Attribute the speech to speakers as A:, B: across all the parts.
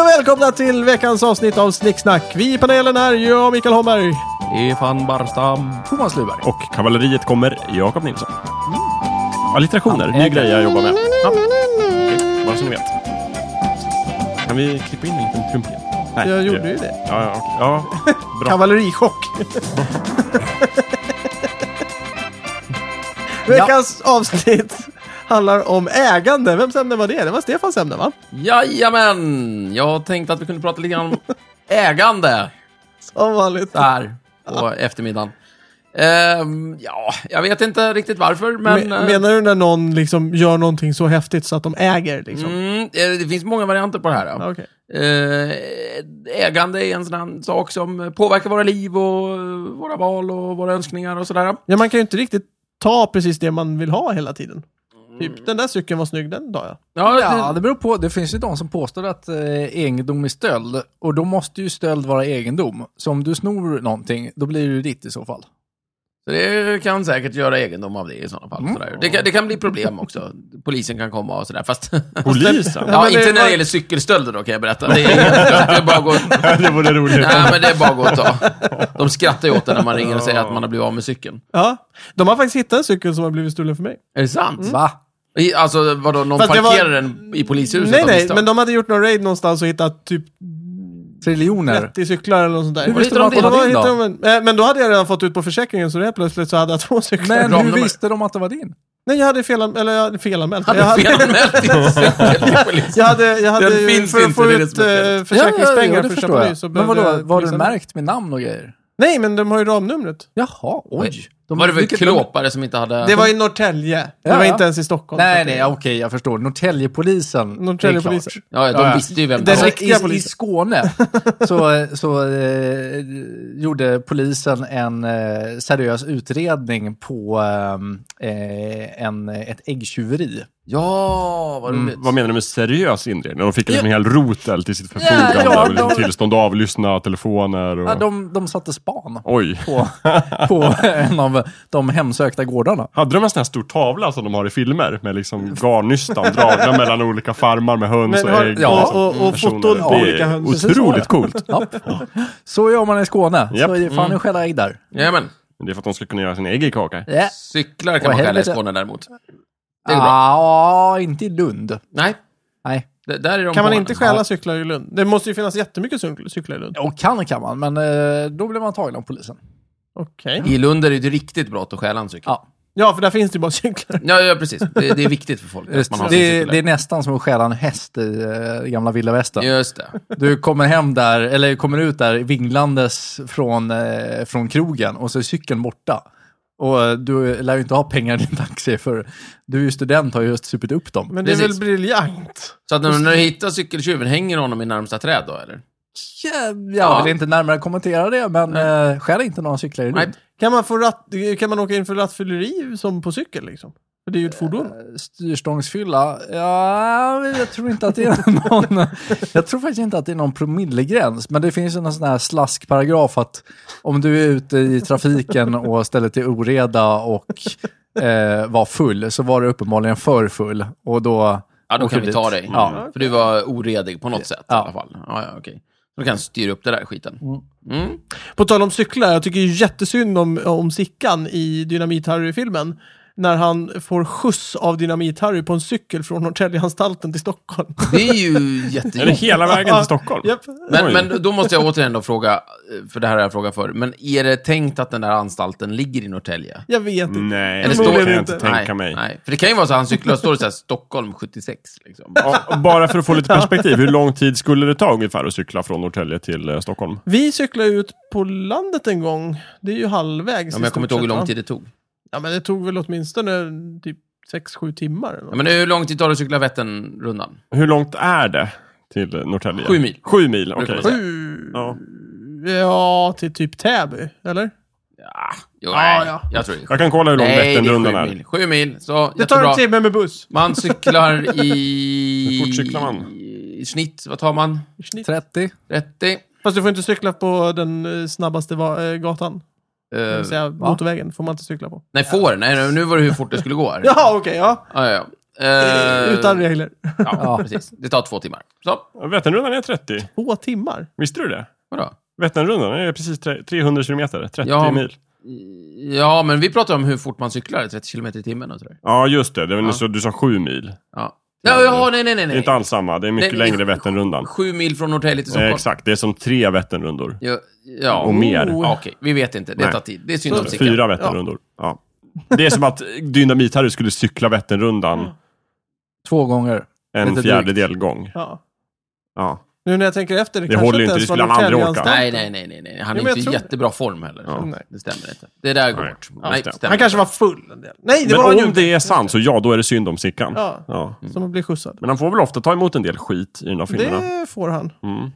A: och välkomna till veckans avsnitt av Snicksnack. Vi i panelen är jag, Mikael Holmberg.
B: Stefan Barstam. Thomas Luberg.
C: Och kavalleriet kommer Jakob Nilsson. Allitterationer, ny grej jag jobbar med. Ja. Okej, Bara så ni vet. Kan vi klippa in en liten trump igen? Nej,
A: Jag
C: det-
A: gjorde ju det.
C: Ja, ja, okej. ja. Bra.
A: Kavallerichock. veckans avsnitt handlar om ägande. Vems ämne var det? Det var Stefans ämne, va?
B: Jajamän! Jag tänkte att vi kunde prata lite grann om ägande
A: Som vanligt.
B: där på eftermiddagen. Ehm, ja, jag vet inte riktigt varför, men... eh,
A: Men, menar du när någon liksom gör någonting så häftigt så att de äger? Liksom?
B: Mm, eh, det finns många varianter på det här. ja.
A: Ja, okej.
B: Eh, ägande är en sån här sak som påverkar våra liv och eh, våra val och våra önskningar och sådär.
A: Ja, man kan ju inte riktigt ta precis det man vill ha hela tiden.
B: Mm.
A: Typ, den där cykeln var snygg, den tar jag.
B: Ja,
D: Ja,
B: det,
D: det beror på. Det finns ju de som påstår att eh, egendom är stöld. Och då måste ju stöld vara egendom. Så om du snor någonting, då blir det ju ditt i så fall.
B: det kan säkert göra egendom av det i sådana
A: Mm.
B: fall. Sådär. Det, kan, det kan bli problem också. Polisen kan komma och sådär, fast...
C: Polisen?
B: Ja,
A: men det
B: inte när
A: var-
B: det gäller cykelstölder då kan jag berätta. Det är, det är bara att gå...
C: det vore roligt.
B: Nej, men det är bara att gå och ta. De skrattar ju åt det när man ringer och säger att man har blivit av med cykeln.
A: Ja, de har faktiskt hittat en cykel som har blivit stulen för mig.
B: Är det sant?
D: Va?
B: I, alltså, vadå, någon
A: Mm. Fast det var-
B: parkerar den i polishuset
A: Nej,
B: av
A: nej,
B: misstag?
A: men de hade gjort någon raid någonstans och hittat typ
D: Triljoner.
A: 30 cyklar eller något sånt
D: Hur
A: där.
B: Vad
D: visste
B: heter
D: de att
B: de
D: det
A: Och
D: var
A: då
D: din
A: hittade de
D: då?
A: en, eh, men då hade jag redan fått ut på försäkringen så det helt plötsligt så hade jag två cyklar.
D: Men
B: Ramnummer.
D: hur visste de att det var din?
A: Nej, jag hade felan, eller jag hade felanmält. Jag
B: Hade
A: hade,
B: felanmält din cykel till polisen.
A: jag hade, jag hade
B: Den
A: ju-
B: finns
A: för att
B: inte,
A: få
B: det är det
A: ut
B: som är fel.
A: eh, försäkringspengar
D: ja, ja, det
A: för att
D: förstår
A: köpa ny.
D: jag.
A: så
D: Men
A: behövde
D: vadå,
A: jag
D: var det
A: polisen.
D: märkt med namn och grejer?
A: Nej, men de har ju ramnumret.
D: Jaha, oj. De,
B: Var det väl
D: vilket-
B: klåpare som inte hade...
A: Det var i Norrtälje. Det
D: Ja,
A: var
D: ja.
A: inte ens i Stockholm.
D: Nej, nej, okej, jag förstår. Norrtäljepolisen. det är
A: Norrtäljepolisen.
D: klart.
B: Ja, de
D: Ja, ja.
B: visste ju vem det
A: Den
D: Alltså,
B: var.
A: räcker- riktiga
D: i, I
A: polisen.
D: Skåne så, så eh, gjorde polisen en eh, seriös utredning på eh, en, ett äggtjuveri.
B: Ja, vad
A: Mm,
B: roligt.
C: Vad menar du med seriös inredning? De fick liksom en hel rotel till sitt
D: Ja,
C: förfogande.
D: ja,
C: och liksom
D: de-
C: Tillstånd att avlyssna telefoner och...
D: Ja, de, de satte span
C: Oj.
D: på, på en av de hemsökta gårdarna.
C: Hade de en sån här stor tavla som de har i filmer? Med liksom garnnystan dragna mellan olika farmar med höns
A: Men
C: och
A: har-
C: ägg.
D: ja,
C: liksom.
A: och- och
C: Personer.
A: foton på
C: Det är
A: olika höns.
C: Otroligt coolt.
D: Ja. Så gör man i Skåne.
C: Japp.
D: Så är det fan en skälla ägg där.
B: Jajamän.
C: Men Det är för att de ska kunna göra sin egen kaka.
D: Ja,
B: Cyklar kan
D: Åh,
B: man stjäla i
D: helvete.
B: Skåne däremot. Det är bra.
D: ah, inte i Lund.
B: Nej,
D: Nej.
B: det, där är de
A: Kan man
B: på
A: inte
B: den.
A: stjäla cyklar i Lund? Det måste ju finnas jättemycket cyk- cyklar i Lund.
D: Och kan kan man, men eh, då blir man tagen av polisen.
A: Okej.
B: I Lund är det ju ett riktigt brott att stjäla en cykel.
D: Ja.
A: Ja, för där finns det ju bara cyklar.
B: Ja, ja precis. Det, det är viktigt för folk att man har sin
D: det,
B: cykel.
D: det är
B: där.
D: nästan som att stjäla en häst i eh, gamla vilda västern.
B: Just det.
D: Du kommer hem där, eller kommer ut där vinglandes från, eh, från krogen och så är cykeln borta. Och eh, du lär ju inte ha pengar i din taxi för du är ju student har ju just supit upp dem.
A: Men det är väl
B: Precis.
A: briljant?
B: Så att när, när du hittar cykeltjuven, hänger honom i närmsta träd då, eller?
D: Ja, jag vill inte närmare kommentera det, men eh, stjäl inte några cyklar i
B: Nej.
D: Lund.
A: Kan man, få ratt, kan man åka in för rattfylleri som på cykel liksom? För det är ju ett
B: Eh.
A: fordon.
D: Styrstångsfylla? Ja, jag tror inte att det är någon... Jag tror faktiskt inte att det är någon promillegräns, men det finns ju någon sån här slaskparagraf att om du är ute i trafiken och ställer till oreda och eh, var full, så var du uppenbarligen för full. Och då...
B: Ja, då
D: åker
B: kan vi
D: dit.
B: ta dig.
D: Ja.
B: För du var oredig på något sätt i
D: Ja.
B: alla fall. Ja, ja, okej. Då kan du styra upp det där skiten. Mm.
A: På tal om cyklar, jag tycker ju jättesynd om, om Sickan i Dynamit-Harry-filmen. När han får skjuts av Dynamit-Harry på en cykel från Norrtäljeanstalten till Stockholm.
B: Det är ju
C: Är det
B: jättejobbigt.
C: hela vägen till Stockholm?
A: Japp.
B: Men,
C: Oj.
B: men då måste jag återigen då fråga, eh, för det här har jag frågat förr, men är det tänkt att den där anstalten ligger i Norrtälje?
A: Jag vet inte.
C: Nej,
B: Eller
C: det
B: står
C: kan
A: det
C: jag
A: inte?
C: inte tänka mig.
B: nej. För det kan ju vara så att han cyklar och står det så här, Stockholm 76. Liksom.
C: Och- och Bara för att få lite perspektiv, hur lång tid skulle det ta ungefär att cykla från Norrtälje till eh, Stockholm?
A: Vi cyklade ut på landet en gång. Det är ju halvvägs.
B: Ja, men
A: i
B: jag kommer inte ihåg hur
A: stort
B: lång
A: sett, va?
B: tid det tog.
A: Ja, men det tog väl åtminstone typ 6-7 timmar. Eller
B: Ja,
A: något.
B: men hur lång tid tar det att cykla Vätternrundan?
C: Hur långt är det till eh, Norrtälje?
B: Sju mil.
C: Sju mil, okej.
B: Brukar man säga.
A: Sju...
C: Ja.
A: Ja, till typ Täby, eller?
B: Ja, jo,
A: Ja,
B: nej,
A: ja.
B: jag tror det. är sju-
C: Jag kan kolla hur lång
B: Nej, det
C: Vätternrundan
B: är
C: är.
B: sju mil. Sju mil, så
A: Det tar
B: jättebra.
A: en timme med buss.
B: Man cyklar i...
C: Hur fort cyklar man?
B: I snitt, vad tar man?
D: 30?
B: 30?
A: Fast du får inte cykla på den eh, snabbaste va- eh, gatan. Det
B: Eh,
A: vill säga motorvägen får man inte cykla på.
B: nej, får? Nej, nu var det hur fort det skulle gå här.
A: Ja, okej, ja.
B: Ja, ja, ja. Eh,
A: Utan regler.
B: Ja,
D: Ja.
B: precis. Det tar två timmar. Så,
C: Vätternrundan är 30.
A: Två timmar.
C: Visste du det?
B: vadå?
C: Vätternrundan är precis tre- 300 kilometer, 30
B: Ja.
C: mil.
B: Ja, men vi pratar om hur fort man cyklar, 30 kilometer i timmen och sådär.
C: Ja, just det. det var,
B: Ja.
C: så, du sa 7 mil.
B: Ja. Ja, ja, nej, nej, nej.
C: Det är inte
B: nej.
C: alls samma. Det är mycket
B: Nej,
C: längre Vätternrundan.
B: Sju mil från Norrtälje
C: Eh,
B: till Stockholm.
C: exakt, det är som tre Vätternrundor.
B: Ja, ja.
C: Och mer.
B: Ja, Okej, vi vet inte. Det
C: Nej.
B: tar tid. Det är synd om Sickan.
C: Fyra Vätternrundor. Ja. Det är som att Dynamit-Harry skulle cykla Vätternrundan
D: Två gånger.
C: en
D: Lite
C: fjärdedel gång.
A: Ja.
C: Ja.
A: Nu när jag tänker efter, det,
C: Det
A: kanske
C: håller
A: inte
C: inte,
A: ens
C: det
A: var
C: skulle han aldrig
A: Norrtäljeanstalten.
C: orka.
B: Nej, nej, nej, nej, nej. Han
A: Jo, men
B: är
A: jag
B: inte i
A: tror-
B: jättebra form heller. så
A: Nej.
B: Det stämmer inte. Det där går
C: Nej.
B: bort.
C: Ja,
B: Nej,
C: det stämmer.
B: stämmer.
A: Han kanske var full en del. Nej, det
C: Men
A: var han
C: om
A: ju inte.
C: det är sant, så ja, då är det synd om Sickan.
A: Ja.
C: Ja.
A: Som att bli skjutsad.
C: Men han får väl ofta ta emot en del skit i de här filmerna.
A: Det får han.
C: Mm.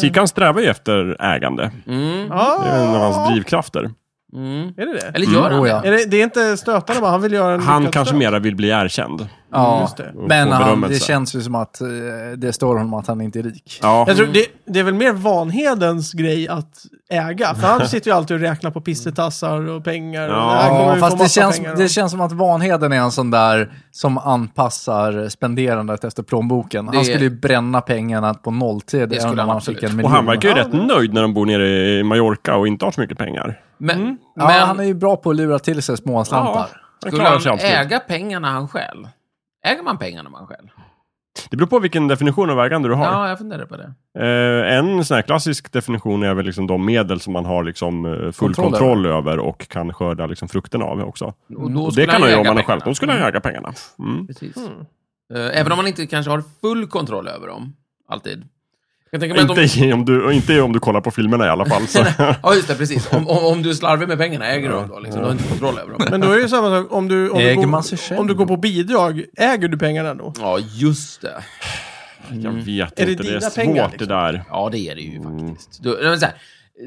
C: Sickan strävar ju efter ägande.
B: Mm.
A: Ja,
C: Det är en av hans drivkrafter.
B: Mm.
A: är det det?
B: Eller gör
D: Mm.
B: han
D: Oh,
B: det?
D: ja.
A: Är det, det är inte stötande bara, han vill göra en
C: Han
A: lyckad
C: kanske
A: stöt.
C: mera vill bli erkänd.
A: Mm,
D: Ja,
A: just det.
D: men
C: Och få
D: han,
C: berömmelse.
D: det känns ju som att eh, det står honom att han inte är rik.
C: Ja.
A: Jag tror det, det är väl mer Vanhedens grej att äga. För han sitter ju alltid och räknar på pissetassar och pengar. och
C: Ja,
A: det här kommer vi
D: Ja,
A: få
D: fast det
A: massa
D: känns,
A: pengar
D: det
A: av.
D: känns som att Vanheden är en sån där som anpassar spenderandet efter plånboken.
B: Det-
D: Han skulle ju bränna pengarna på nolltid.
B: Det
D: Det
B: skulle
D: skulle
B: han
D: han fick
B: absolut.
D: en
C: Och
D: miljon.
C: han verkar ju rätt nöjd när de bor nere i Mallorca och inte har så mycket pengar.
B: Men, men
D: Mm. Ja, han är ju bra på att lura till sig småslantar.
C: Han
B: skulle
C: klarar sig
B: han
C: alltid.
B: äga pengarna han själv? Äger man pengarna man själv?
C: Det beror på vilken definition av ägande du har.
B: Ja, jag funderar på det.
C: Eh, en sån här klassisk definition är väl liksom de medel som man har liksom eh, full kontroll,
D: Kontroll
C: över och kan skörda liksom frukten av också.
B: Och då
C: Och
B: skulle
C: det kan han göra om
B: äga
C: man är själv.
B: pengarna.
C: Då skulle han äga pengarna. Mm.
B: Precis. Eh, Även om man inte kanske har full kontroll över dem, alltid. Jag tänker mig att om-
C: Inte, i- om du, och inte i om du kollar på filmerna i alla fall. Så.
B: Ja, just det, precis. Om, om, om du slarvar med pengarna, äger du dem då? Liksom, Du har inte kontroll över dem.
A: Men då är det ju samma sak om du, om, du
D: Äger man sig
A: går,
D: själv?
A: om du går på bidrag. Äger du pengarna då?
B: Ja, just det.
C: Jag vet
A: Mm. Är det
C: inte, det, är
A: dina
C: svårt
A: pengar, liksom?
C: det där.
B: Ja, det är det ju faktiskt. Du, nej, men så här,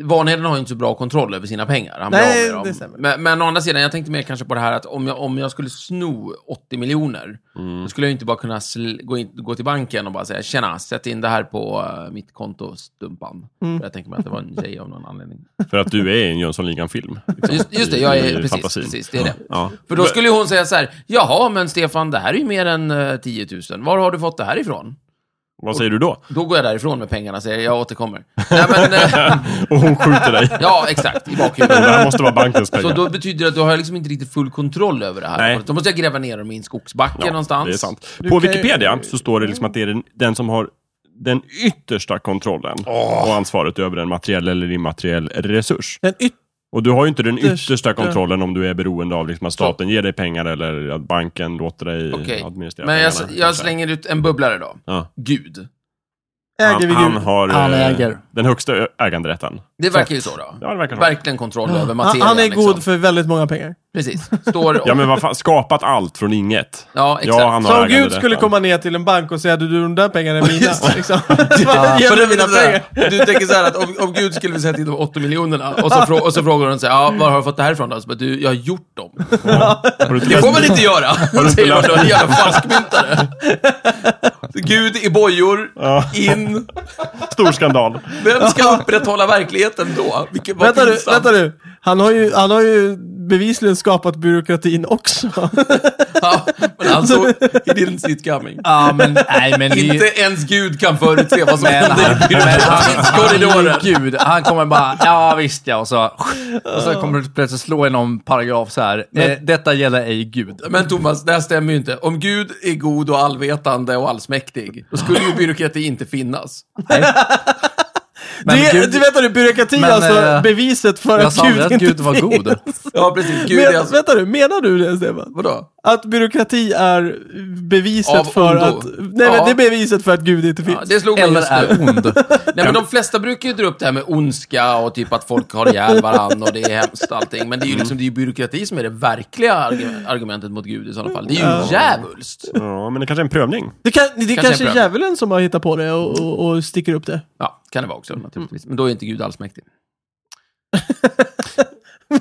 B: Vanheden har ju inte så bra kontroll över sina pengar. Han blir
A: Nej,
B: av med dem.
A: det stämmer.
B: Men, men å andra sidan, jag tänkte mer kanske på det här att om jag, om jag skulle sno 80 miljoner, då skulle jag ju inte bara kunna sl- gå, in, gå till banken och bara säga tjena, sätt in det här på eh, mitt konto, stumpan. För jag tänker mig att det var en tjej av någon anledning.
C: För att du är i en Jönssonligan-film. liksom,
B: Just, just det,
C: i-
B: jag
C: i
B: är, precis,
C: fantasin.
B: precis, det är det.
C: Ja.
B: För då skulle ju hon säga så här, jaha, men Stefan, det här är ju mer än eh, 10 000. Var har du fått det här ifrån?
C: Vad säger du då?
B: Då går jag därifrån med pengarna och säger, jag återkommer. Nej, men, eh,
C: Och hon skjuter dig.
B: ja, exakt, i
C: Det
B: bakhuvudet.
C: här måste vara bankens pengar.
B: Så då betyder det att du har liksom inte riktigt full kontroll över det här.
C: Nej.
B: Då måste jag gräva ner dem i en skogsbacke
C: Ja,
B: någonstans.
C: Det är sant.
A: Du
C: På
A: kan ju-
C: Wikipedia så står
B: Mm.
C: det liksom att det är den, den som har den yttersta kontrollen och ansvaret över en materiell eller immateriell resurs.
A: Den yt-
C: Och du har ju inte den
A: Yttersta.
C: yttersta kontrollen om du är beroende av liksom att staten ger dig pengar eller att banken låter dig
B: Okej.
C: administrera
B: Men jag,
C: pengarna.
B: jag
C: kanske.
B: slänger ut en bubblare då.
C: Ja.
B: Gud.
A: äger vi
C: Han,
A: Gud?
C: han har
D: Han
C: eh,
D: äger.
C: den högsta ö- äganderätten.
B: Det verkar ju så då.
C: Ja, det verkar så.
B: Verkligen kontroll över
A: han,
B: materien.
A: han är
B: liksom.
A: god för väldigt många pengar.
B: Precis. Står och...
C: Ja, men vad fan, skapat allt från inget.
B: Ja, exakt.
C: Ja, han har
A: Så om Gud
C: äganderätten.
A: skulle komma ner till en bank och säga du, du de där pengarna är mina. liksom.
D: Ja.
A: Ge
B: För
A: mig
B: det,
A: mina pengar.
B: du tänker så här att om, om Gud skulle säga till de 80 miljonerna och så, frå- och så frågar hon så här, ja, var har du fått det här ifrån då? Så bara, du, jag har gjort dem.
C: Har du inte
B: Det
C: läst-
B: får man inte göra! Säger hon då, en jävla falskmyntare. Gud i bojor, in.
C: Stor skandal.
B: Vem ska upprätthålla verkligheten då? Vilket var
A: Vänta du,
B: pinsamt.
A: vänta du. Han har, ju, han har ju bevisligen skapat byråkratin också.
B: Ja, men alltså, he didn't see it coming.
D: Ja, men nej, men det är ju-
B: Inte ens Gud kan förutse vad som
D: Men han,
B: händer i
D: men
B: byråkratins
D: han, han
B: korridorer.
D: är ju gud. Han kommer bara, ja visst ja, och så, och så kommer du plötsligt slå i någon paragraf så här. eh, detta gäller ej gud.
B: Men Thomas, det här stämmer ju inte. Om Gud är god och allvetande och allsmäktig, då skulle ju byråkrati inte finnas.
D: Men
A: det,
D: Gud-
A: du vet du, byråkrati
D: Men,
A: är alltså
D: eh,
A: beviset för
D: Jag
A: att
D: sa
A: Gud
D: aldrig att
A: inte
D: Gud var
A: finns.
D: god.
B: Ja, precis. Gud
A: Men,
B: är alltså...
A: Vänta du, menar du det Stefan?
B: Vadå?
A: Att byråkrati är beviset
B: Av
A: för
B: ondo.
A: att... Nej
B: Ja.
A: men det är beviset för att Gud inte finns.
B: Ja, det slog mig
D: Eller
B: just nu.
D: är ond.
B: Nej, men de flesta brukar ju dra upp det här med ondska och typ att folk har ihjäl varandra och det är hemskt allting. Men det är
D: Mm.
B: ju liksom, det är ju byråkrati som är det verkliga argu- argumentet mot Gud i sådana fall. Det är ju djävulskt.
C: Ja, men det kanske är en prövning.
A: Det, kan, det är kanske
B: prövning.
A: är djävulen som har hittat på det och, och, och sticker upp det.
B: Ja, kan det vara också
C: Mm.
B: naturligtvis. Men då är inte Gud allsmäktig.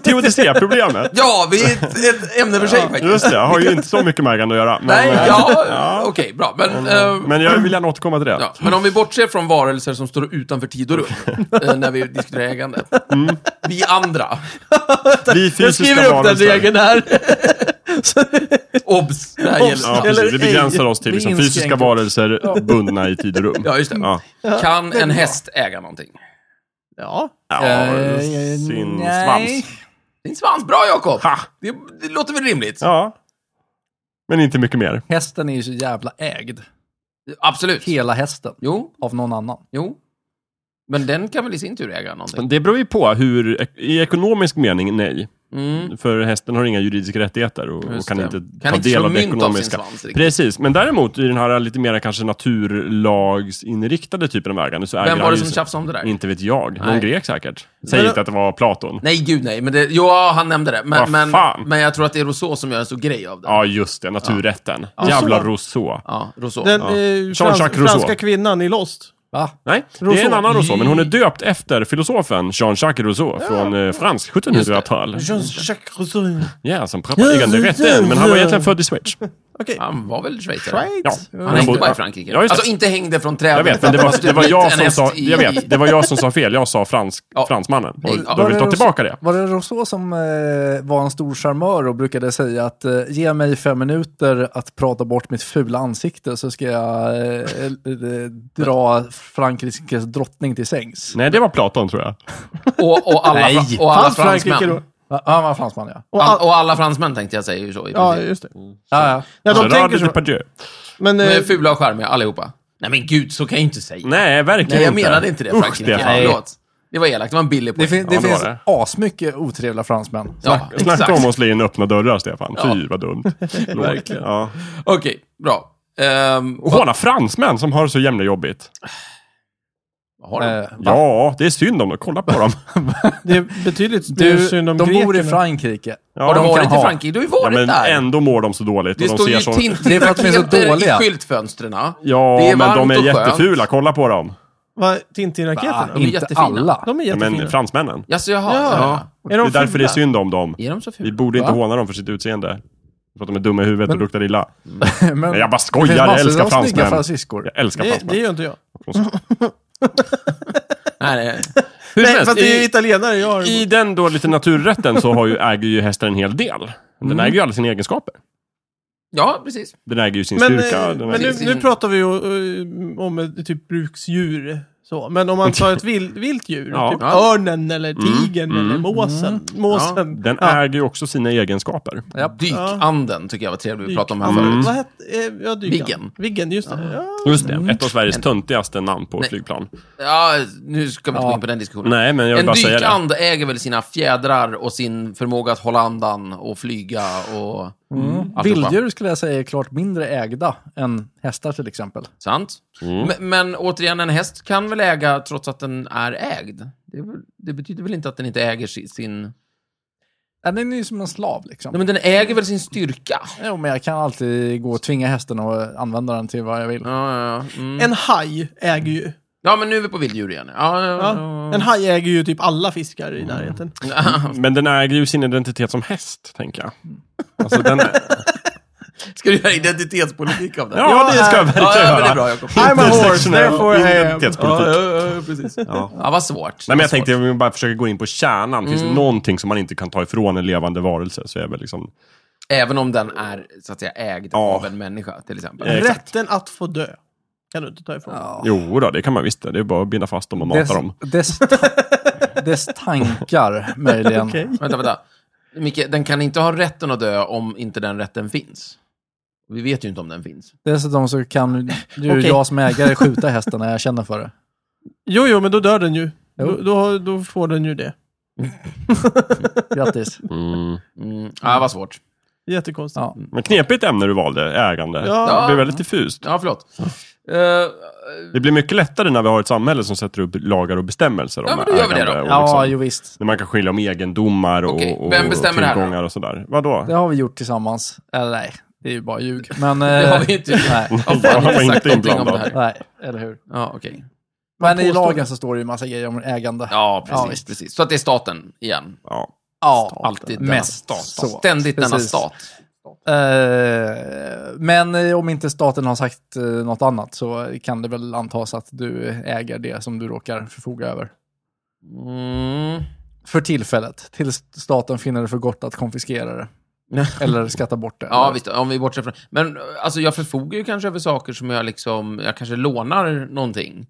C: Teodicéproblemet.
B: Ja, vi är ett, ett ämne för sig faktiskt.
C: Just det, jag har ju inte så mycket med ägande att göra. Men,
B: Nej,
C: eh,
B: ja, okej, bra. Men,
C: Mm.
B: eh,
C: men jag vill gärna återkomma till det.
B: ja, men om vi bortser från varelser som står utanför tid och rum eh, när vi diskuterar ägande.
C: Mm.
B: Vi andra.
C: Vi
A: Jag
C: fysiska
A: skriver upp den
C: varelser.
A: regeln här.
B: Obs! Det här
A: Obs.
B: gäller.
C: Ja,
A: Eller
C: precis. Vi begränsar
A: ej.
C: oss till
D: Vi
C: liksom,
D: inskränker
C: fysiska
D: oss.
C: varelser bundna i tid och rum.
B: Ja, just det.
C: Ja.
B: Kan en häst äga någonting?
A: Ja,
C: Ja, sin svans.
B: Din svans, bra Jakob!
C: Ha!
B: Det, det låter väl rimligt?
C: Ja. Men inte mycket mer.
D: Hästen är ju så jävla ägd.
B: Absolut.
D: Hela hästen.
B: Jo,
D: Av någon annan.
B: jo. Men den kan väl i sin tur äga någonting?
C: Det beror ju på hur, i ekonomisk mening, nej.
B: Mm.
C: För hästen har inga juridiska rättigheter och, och
B: just
C: kan
B: det.
C: inte ta
B: kan inte
C: del
B: slå
C: av det
B: mynt av sin
C: ekonomiska.
B: svans riktigt.
C: Precis, men däremot i den här lite mer kanske naturlagsinriktade typen av ägande så äger
B: Vem var
C: han
B: det
C: ju
B: som
C: så-
B: tjafsade om det där?
C: Inte vet jag. Någon
B: Nej.
C: grek säkert. Säg
A: Men-
C: inte att det var Platon.
B: Nej, gud nej. Men det, jo, han nämnde det. Men,
C: Vad
B: men,
C: fan?
B: men jag tror att det är Rousseau som gör en stor grej av det.
C: Ja, just det. Naturrätten. Jävla Rousseau.
B: Ja, Rousseau.
A: den
C: Ja.
A: eh,
C: Jean-Jacques
A: frans,
C: Rousseau.
A: franska kvinnan i Lost.
D: Va?
C: Nej, det är en
A: Rousseau.
C: annan Rousseau, men hon är döpt efter filosofen Jean-Jacques Rousseau från eh, fransk 1700-tal.
A: Jean-Jacques Rousseau. Okej.
C: Ja, som propagerande rätten, men han var egentligen född i Schweiz.
B: Han var väl schweizare?
A: Right?
C: Ja.
A: Ja.
B: Han hängde
C: bodde-
B: bara i Frankrike.
C: Ja, just det.
B: alltså inte hängde från trädet.
C: Jag vet, men det var, det
B: typ
C: var jag som sa... Jag vet, det var jag som sa fel. Jag sa fransk,
B: Ja.
C: fransmannen.
B: Nej, ja.
C: Och jag vill ta
D: Rousseau-
C: tillbaka det.
D: Var det Rousseau som eh, var en stor charmör och brukade säga att eh, ge mig fem minuter att prata bort mitt fula ansikte så ska jag eh, eh, dra Frankrikes drottning till sängs.
C: Nej, det var Platon, tror jag.
B: Och, och alla, fra- och alla
A: Fanns Frankrike
B: fransmän.
A: då?
D: Va? Ja, Han var fransman ja.
A: Och
B: All-
A: all,
B: och alla fransmän tänkte jag säger ju så i
A: ja,
B: princip.
A: just det.
D: Ja, ja.
A: Ja, de
C: Gerard
A: tänker så.
C: Depardieu.
A: Men,
B: De är
A: eh,
B: fula och charmiga allihopa. Nej men gud, så kan jag inte säga.
C: Nej, verkligen
B: Nej, jag
C: inte.
B: menade inte det
C: Usch,
B: Frankrike.
C: det
B: Nej.
C: är
B: Förlåt. Det var elakt, det var en billig poäng.
D: Det, fin- det
C: Ja, det var
D: finns
C: det.
D: asmycket otrevliga fransmän.
B: Ja,
C: Snacka om
B: exakt.
C: att slå in öppna dörrar, Stefan. Fy, vad dumt. verkligen. Ja.
B: Okej, bra. Ehm,
C: Och alla fransmän som har det så jämna jobbigt.
B: vad har de?
D: Eh,
C: Ja, det är synd om dem. Kolla på dem.
A: det är betydligt mer
D: du,
A: synd om
D: de bor i
A: grekerna.
D: Frankrike.
B: har
C: Ja,
B: du
D: de
B: varit
D: kan
B: i
D: ha.
B: Frankrike? Du har ju
C: ja,
B: varit
C: men
B: där.
C: ändå mår de så dåligt.
B: det
C: och
B: står
C: de ser
B: ju
C: så...
D: Det är för att de är så
B: Tintin-raketer
D: dåliga.
B: i skyltfönstren.
C: Ja,
B: Det är
C: men de
B: varmt och
C: är
B: skönt.
C: jättefula. Kolla på dem.
A: Va,
D: Ah,
A: Tintin-raketerna?
B: är
D: inte
B: jättefina.
D: alla.
A: De är
C: Ja,
A: jättefina.
C: men fransmännen.
B: Jaså, jaha.
A: Ja.
B: Ja.
A: Är
C: Det
A: de
C: är därför det
A: fula?
C: är synd om dem.
B: Är de så fula?
C: Vi borde inte
D: Va?
C: håna dem för sitt utseende. För att de är dumma i huvudet och luktar illa.
D: Men
C: Nej, jag bara
D: det
C: skojar.
D: finns
C: Jag
D: massor
C: älskar
D: av snygga
C: fransmän.
D: fransiskor.
C: Jag älskar
A: Det, det
C: fransmän.
A: gör inte jag.
B: Nej, nej. Hur
A: Nej,
B: som helst,
A: fast det är ju
B: i-
A: italienare jag har.
C: I den då lite naturrätten så har ju, äger ju hästen en hel del. Den
A: Mm.
C: äger ju alla sina egenskaper.
B: Ja, precis.
C: Den äger ju sin
A: Men,
C: styrka.
A: eh,
C: den
A: men
C: äger...
A: nu,
B: sin-
A: nu pratar vi ju eh, om ett typ bruksdjur. Så. Men om man tar ett vilt, vilt djur,
C: Ja. Mm.
A: typ
B: Ja.
A: örnen eller tigern eller måsen. måsen.
C: Den
A: Ja.
C: äger ju också sina egenskaper.
D: Japp.
B: Dykanden tycker jag var trevlig. Vi pratade om
C: Mm.
B: här
A: Alltså,
B: förut.
A: Vad hette... eh, Ja, dykan.
B: Viggen.
A: Viggen, just det. Ja.
C: Just det. Ett av Sveriges töntigaste namn på flygplan.
B: Ja, nu ska vi inte gå
D: Ja.
B: in på den diskussionen.
C: Nej, men jag vill
B: En
C: bara säga det.
B: dykand äger väl sina fjädrar och sin förmåga att hålla andan och flyga och... Mm.
D: Vilddjur skulle jag säga är klart mindre ägda än hästar till exempel.
B: Sant.
C: Mm.
B: Men, men återigen, en häst kan väl äga trots att den är ägd? Det, är väl- det betyder väl inte att den inte äger si- sin...
D: Ja, Äh, Den är ju som en slav liksom.
B: Nej, men den äger väl sin styrka?
D: Jo, men jag kan alltid gå och tvinga hästen och använda den till vad jag vill.
B: Ja, ja, ja. Mm.
A: En haj äger ju...
B: ja men nu är vi på vilddjur igen. Ja, ja,
A: Ja.
B: ja.
A: En haj äger ju typ alla fiskar
C: Mm.
A: i närheten.
C: Men den äger ju sin identitet som häst, tänker jag. Alltså, den...
B: Ska du göra identitetspolitik av det?
C: Ja, det ska jag
B: ja,
C: verkligen
B: ja, men det är
C: göra.
B: bra, Jakob.
A: I'm a horse,
C: Intersectional
A: therefore I am.
C: identitetspolitik.
B: precis.
C: Ja.
B: Ja, vad svårt.
C: Nej, men jag
B: Vad svårt.
C: tänkte, vi bara försöker gå in på kärnan. Finns
A: Mm.
C: det någonting som man inte kan ta ifrån en levande varelse så är väl liksom...
B: Även om den är så att säga, ägd
C: Ja.
B: av en människa, till exempel.
C: Eh, exakt.
A: Rätten att få dö. Kan du inte ta ifrån.
D: Ja.
C: Jo då, det kan man visst. Det är bara att binda fast dem och mata
D: Dess,
C: dem.
D: dess, ta- dess tankar möjligen.
A: Okej.
B: Vänta, vänta. Micke, den kan inte ha rätten att dö om inte den rätten finns. Vi vet ju inte om den finns.
D: Dessutom så kan ju
A: Okej.
D: jag som ägare skjuta hästen när jag känner för det.
A: Jo, jo, men då dör den ju.
D: Jo.
A: Då, då, då får den ju det.
D: Grattis.
C: Mm.
B: Mm. Ja, vad svårt.
A: Jättekonstigt.
D: Ja.
B: Mm.
C: Men knepigt ämne du valde, ägande.
A: Ja.
C: Det blir väldigt diffust.
B: Ja, förlåt. Eh,
C: Det blir mycket lättare när vi har ett samhälle som sätter upp lagar och bestämmelser om
B: Ja, men då gör vi
C: ägande.
B: det då.
C: och
D: Ja,
C: liksom,
D: jo, visst.
C: När man kan skilja om egendomar och,
B: Okej,
C: och,
B: vem bestämmer det här då?
C: tillgångar och sådär. Vadå?
D: Det har vi gjort tillsammans. Eller nej, det är ju bara ljug. Men... eh,
B: det har vi inte.
D: Nej,
B: Ja,
C: Jag
B: fan,
C: var inte
B: har inte sagt någonting om
C: inblandad.
B: det här.
D: nej, eller hur.
B: Ja, okej.
D: Men i
A: påstår
D: lagen så står det ju massa grejer om ägande.
B: Ja, precis,
D: Ja, visst.
B: precis. Så att det är staten igen.
C: Ja.
D: Ja,
B: Alltid denna
D: Mest
B: stat.
D: så.
B: Ständigt denna
D: Precis.
B: stat.
D: Eh, men eh, om inte staten har sagt eh, något annat så kan det väl antas att du äger det som du råkar förfoga över.
B: Mm.
D: För tillfället, tills staten finner det för gott att konfiskera det. Eller skatta bort det.
B: Ja,
D: eller?
B: visst. Om vi bortser från... Men eh, alltså, jag förfogar ju kanske över saker som jag liksom... Jag kanske lånar någonting.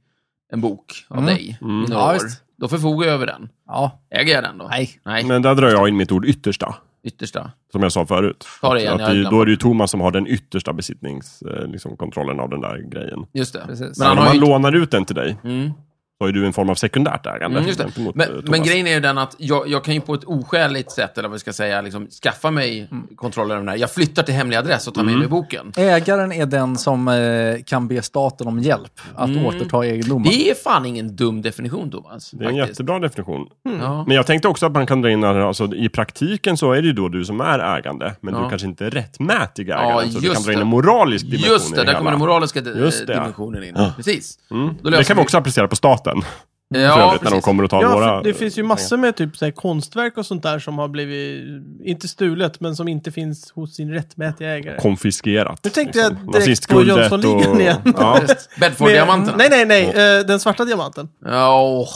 B: En bok av
D: Mm.
B: dig.
C: Mm.
B: I några
D: Ja,
B: år.
D: visst.
B: Då förfogar jag över den.
D: Ja.
B: Äger jag den då?
D: Nej.
B: Nej,
C: Men där drar jag in mitt ord yttersta,
B: yttersta.
C: som jag sa förut.
B: Ta det igen,
C: att
B: jag
C: det, är-
B: glömde.
C: då är det ju Thomas som har den yttersta besittningskontrollen liksom, kontrollen av den där grejen.
B: Just det.
D: Precis.
B: Men
C: om
B: han har
C: man
B: ju... inte-
C: lånar ut den till dig,
B: Mm.
C: så är du en form av sekundärt ägande.
B: Mm, just det.
C: gentemot, eh,
B: Men,
C: Thomas.
B: men grejen är ju den att jag, jag kan ju på ett oskäligt sätt, eller vad vi ska säga, liksom, skaffa mig
C: Mm.
B: kontroll över den här. Jag flyttar till hemlig adress och tar med mig boken.
D: Ägaren är den som eh, kan be staten om hjälp att
B: Mm.
D: återta egendomen.
B: Det är fan ingen dum definition, Thomas.
C: Det är en
B: faktiskt.
C: jättebra definition.
B: Ja.
C: Men jag tänkte också att man kan dra in, den här, alltså, i praktiken så är det ju då du som är ägande, men du
B: Ja.
C: kanske inte är rättmätig ägare.
B: Ja,
C: så du
B: just
C: kan dra in
B: det.
C: en moralisk dimension
B: Just
C: i
B: det, där
C: hela.
B: kommer den moraliska di-
C: Just det.
B: dimensionen in.
C: Ja.
B: Precis.
C: Mm.
B: Då löser
C: Det kan vi
B: vi-
C: också applicera på staten, för
B: Ja,
C: övrigt, när de
B: precis.
C: kommer och tar
A: Ja,
C: våra...
A: för det finns ju massor med typ så här, konstverk och sånt där som har blivit, inte stulet, men som inte finns hos sin rättmätiga ägare.
C: konfiskerat.
A: Nu tänkte jag
C: liksom.
A: direkt på
C: Nazistskuldet
A: Jönssonligan igen.
C: Ja.
B: Bedford-diamanterna.
A: nej, nej, nej, eh, den svarta diamanten.
B: Ja, åh.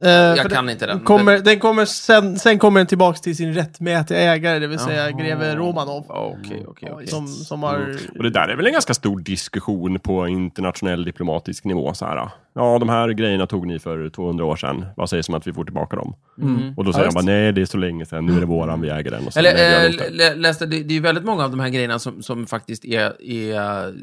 A: Eh, för
B: jag kan
A: den
B: inte den.
A: Kommer, den kommer sen, sen kommer den tillbaks till sin rättmätiga ägare, det vill säga greve Romanov.
B: Ja, Okej, okej, okej.
A: Som, som har...
C: Och det där är väl en ganska stor diskussion på internationell diplomatisk nivå. Så här. Ja, de här grejerna tog ni för 200 år sedan. Vad sägs om att vi får tillbaka dem?
B: Mm.
C: Och då säger
D: Ja,
C: de bara, nej, det är så länge sedan. Nu är det våran, vi äger den. Och sen
B: Eller,
C: lägger jag
B: eh,
C: den inte.
B: lä- läste, det, det är ju väldigt många av de här grejerna som, som faktiskt är, är eh,